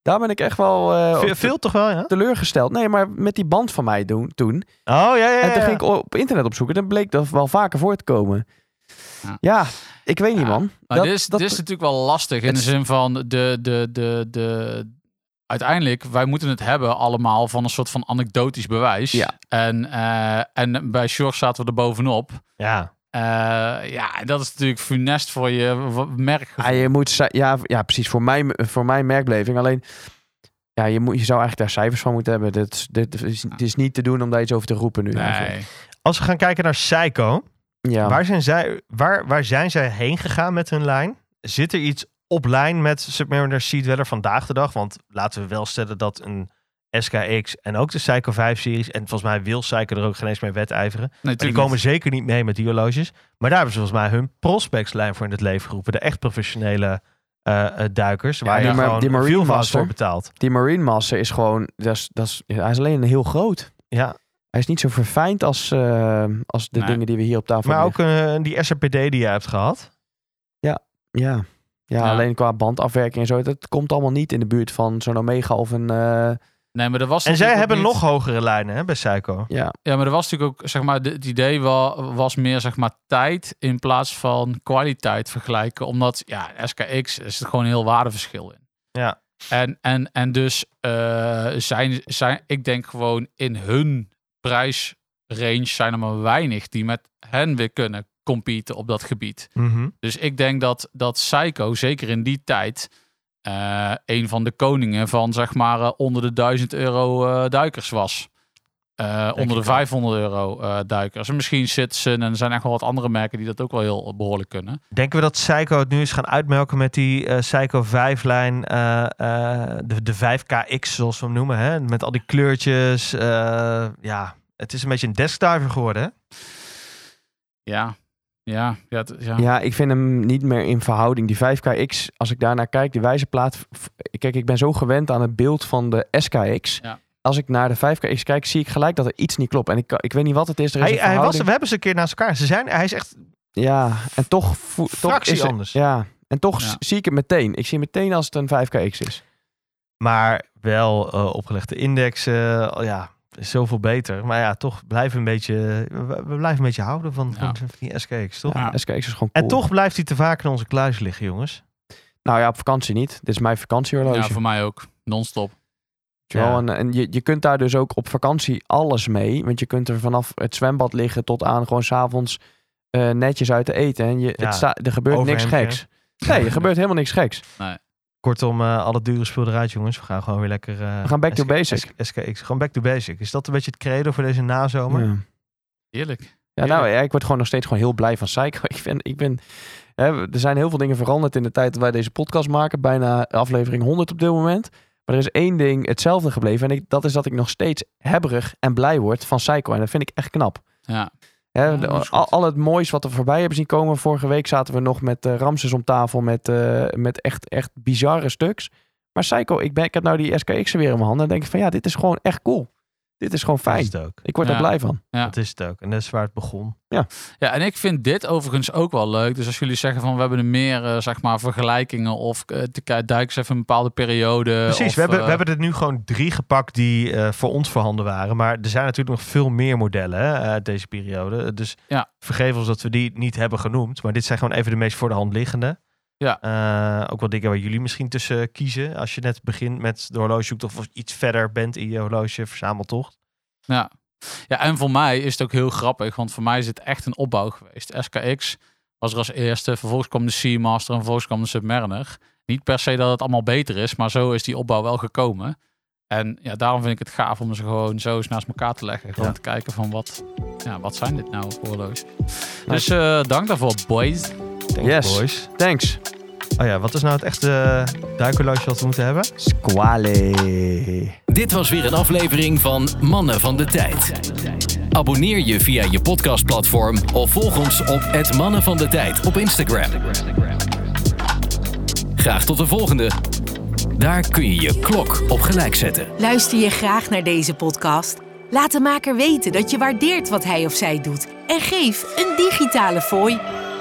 E: Daar ben ik echt wel eh,
D: Ve-
E: op
D: veel toch wel, ja?
E: teleurgesteld. Nee, maar met die band van mij doen, toen.
D: Oh, ja, ja,
E: En toen
D: ja.
E: ging ik op internet opzoeken. Dan bleek dat wel vaker voor te komen. Ja,
B: Ja.
E: ik weet niet,
B: Ja,
E: man.
B: Maar
E: Dat-
B: dit, is,
E: dat-
B: dit is natuurlijk wel lastig in
E: Het
B: de
E: is-
B: zin van de, de, de, de. Uiteindelijk, wij moeten het hebben allemaal van een soort van anekdotisch bewijs.
E: Ja.
B: En, eh, en bij Shorts zaten we er bovenop.
D: Ja.
B: Eh, ja, en dat is natuurlijk funest voor je w- merk.
E: Ah, je moet, ci- ja, ja, precies. Voor mijn, voor mijn merkbeleving. Alleen, ja, je, moet, je zou eigenlijk daar cijfers van moeten hebben. Dit, is- dit is, het is niet te doen om daar iets over te roepen nu. eigenlijk.
B: Nee.
D: Als we gaan kijken naar Psycho.
E: Ja.
D: Waar, zijn zij, waar, waar zijn zij heen gegaan met hun lijn? Zit er iets op lijn met Submariner Sea Dweller vandaag de dag? Want laten we wel stellen dat een SKX en ook de Psycho 5-series... en volgens mij wil Psycho er ook geen eens mee wedijveren. Maar
B: Nee,
D: die
B: tuurlijk
D: komen
B: niet.
D: zeker niet mee met die horloges. Maar daar hebben ze volgens mij hun prospectslijn voor in het leven geroepen. De echt professionele eh, eh, duikers. Waar
E: die
D: je
E: Mar-
D: gewoon
E: die Marine
D: veel
E: Master.
D: voor betaalt.
E: Die Marine Master is gewoon... Dat is, dat is, hij is alleen heel groot.
D: Ja,
E: Hij is niet zo verfijnd als, eh, als de
B: Nee.
E: dingen die we hier op tafel
D: maar ook
E: hebben.
D: eh, die SRPD die je hebt gehad.
E: Ja. Ja,
B: Ja.
E: alleen qua bandafwerking en zo. Dat komt allemaal niet in de buurt van zo'n Omega of een... eh,
B: Nee, maar er was
D: En zij
B: natuurlijk
D: hebben
B: ook niet-
D: nog hogere lijnen hè, bij Psycho.
E: ja,
B: Ja, maar er was natuurlijk ook, zeg maar, de- het idee wa- was meer, zeg maar, tijd in plaats van kwaliteit vergelijken. Omdat, ja, SKX is er gewoon een heel waardeverschil in.
D: Ja.
B: En, en, en dus eh, zijn, zijn, ik denk gewoon in hun prijsrange zijn er maar weinig die met hen weer kunnen competen op dat gebied.
D: Mhm.
B: Dus ik denk dat, dat Psycho, zeker in die tijd, eh, een van de koningen van zeg maar eh, onder de 1000 euro eh, duikers was. Eh, onder de
D: ik ook.
B: 500 euro eh, duikers. En misschien Citizen en er zijn echt wel wat andere merken die dat ook wel heel eh, behoorlijk kunnen.
D: Denken we dat Psycho het nu is gaan uitmelken met die eh, Psycho 5-lijn, eh, eh, de, de 5KX zoals we hem noemen, hè? met al die kleurtjes. eh, ja, het is een beetje een deskdiver geworden. Hè?
B: Ja, ja, ja. het- ja.
E: Ja, ik vind hem niet meer in verhouding. Die 5KX, als ik daarnaar kijk, die wijze plaat. f- Kijk, ik ben zo gewend aan het beeld van de SKX.
B: Ja.
E: Als ik naar de 5KX kijk, zie ik gelijk dat er iets niet klopt. En ik, kan- ik weet niet wat het is. Er is een
D: Hij, hij was,
E: verhouding.
D: we hebben ze een keer naast elkaar. Ze zijn, hij is echt
E: Ja, en toch. voel- toch
D: fractie
E: is er-
D: anders.
E: Ja, en toch
B: Ja.
E: s- zie ik het meteen. Ik zie het meteen als het een 5KX is.
D: Maar wel eh, opgelegde indexen. al ja, is zoveel beter. Maar ja, toch blijven een beetje, we, we blijven een beetje houden van,
B: Ja.
D: van die SKX, toch?
E: Ja,
B: Ja.
E: SKX is gewoon
D: En
E: cool.
D: toch blijft hij te vaak in onze kluis liggen, jongens.
E: Nou ja, op vakantie niet. Dit is mijn vakantiehorloge.
B: Ja, voor mij ook. Non-stop.
E: Weet je wel?
D: Ja.
E: En, en je, je kunt daar dus ook op vakantie alles mee. Want je kunt er vanaf het zwembad liggen tot aan gewoon s'avonds eh netjes uit te eten. En je,
D: Ja,
E: het sta- er gebeurt niks
D: overhemdje.
E: geks. Nee, er gebeurt helemaal niks geks.
D: Kortom, eh al het dure spul eruit, jongens. We gaan gewoon weer lekker... eh,
E: We gaan back to
D: SK
E: basic.
D: SKX, gewoon back to basic. Is dat een beetje het credo voor deze nazomer?
E: Ja.
B: Heerlijk.
E: Ja, nou, ja, ik word gewoon nog steeds gewoon heel blij van Psycho. Ik ben, ik ben, hè, we- er zijn heel veel dingen veranderd in de tijd dat wij deze podcast maken. Bijna aflevering 100 op dit moment. Maar er is één ding hetzelfde gebleven. En ik, dat is dat ik nog steeds hebberig en blij word van Psycho. En dat vind ik echt knap.
B: Ja.
E: Hè,
B: Ja,
E: de-
B: dat is
E: al,
B: goed.
E: al het moois wat we voorbij hebben zien komen. Vorige week zaten we nog met eh, Ramses om tafel met, eh, met echt, echt bizarre stuks. Maar Psycho, ik, ben, ik heb nou die SKX er weer in mijn handen. En denk ik van ja, dit is gewoon echt cool. Dit is gewoon
D: Dat
E: fijn.
D: is het ook.
E: Ik word er
B: Ja.
E: blij van.
B: Ja. Eh,
D: Dat is het ook. En dat is waar het begon.
B: Ja, en ik vind dit overigens ook wel leuk. Dus als jullie zeggen van we hebben er meer eh, zeg maar vergelijkingen of eh, te kijken, duik eens even een bepaalde periode.
D: Precies,
B: of,
D: we, hebben,
B: eh,
D: we hebben er nu gewoon drie gepakt die eh, voor ons voorhanden waren. Maar er zijn natuurlijk nog veel meer modellen hè, eh, uit deze periode. Dus
B: Ja.
D: vergeef ons dat we die niet hebben genoemd. Maar dit zijn gewoon even de meest voor de hand liggende.
B: Ja.
D: Eh, ook wel dingen waar jullie misschien tussen kiezen. Als je net begint met de horlogezoektocht of iets verder bent in je horloge verzameltocht.
B: Ja. ja, en voor mij is het ook heel grappig, want voor mij is het echt een opbouw geweest. SKX was er als eerste, vervolgens kwam de Seamaster en vervolgens kwam de Submariner. Niet per se dat het allemaal beter is, maar zo is die opbouw wel gekomen. En ja, daarom vind ik het gaaf om ze gewoon zo eens naast elkaar te leggen. Gewoon
D: Ja.
B: te kijken van wat, ja, wat zijn dit nou voor horloges. Dus eh, dank daarvoor, boys.
D: Thanks,
E: Yes.
D: boys.
E: Thanks.
D: Oh ja, wat is nou het echte duikhorloge wat we moeten hebben?
E: Squale.
C: Dit was weer een aflevering van Mannen van de Tijd. Abonneer je via je podcastplatform of volg ons op het Mannen van de Tijd op Instagram. Graag tot de volgende. Daar kun je je klok op gelijk zetten.
A: Luister je graag naar deze podcast? Laat de maker weten dat je waardeert wat hij of zij doet en geef een digitale fooi.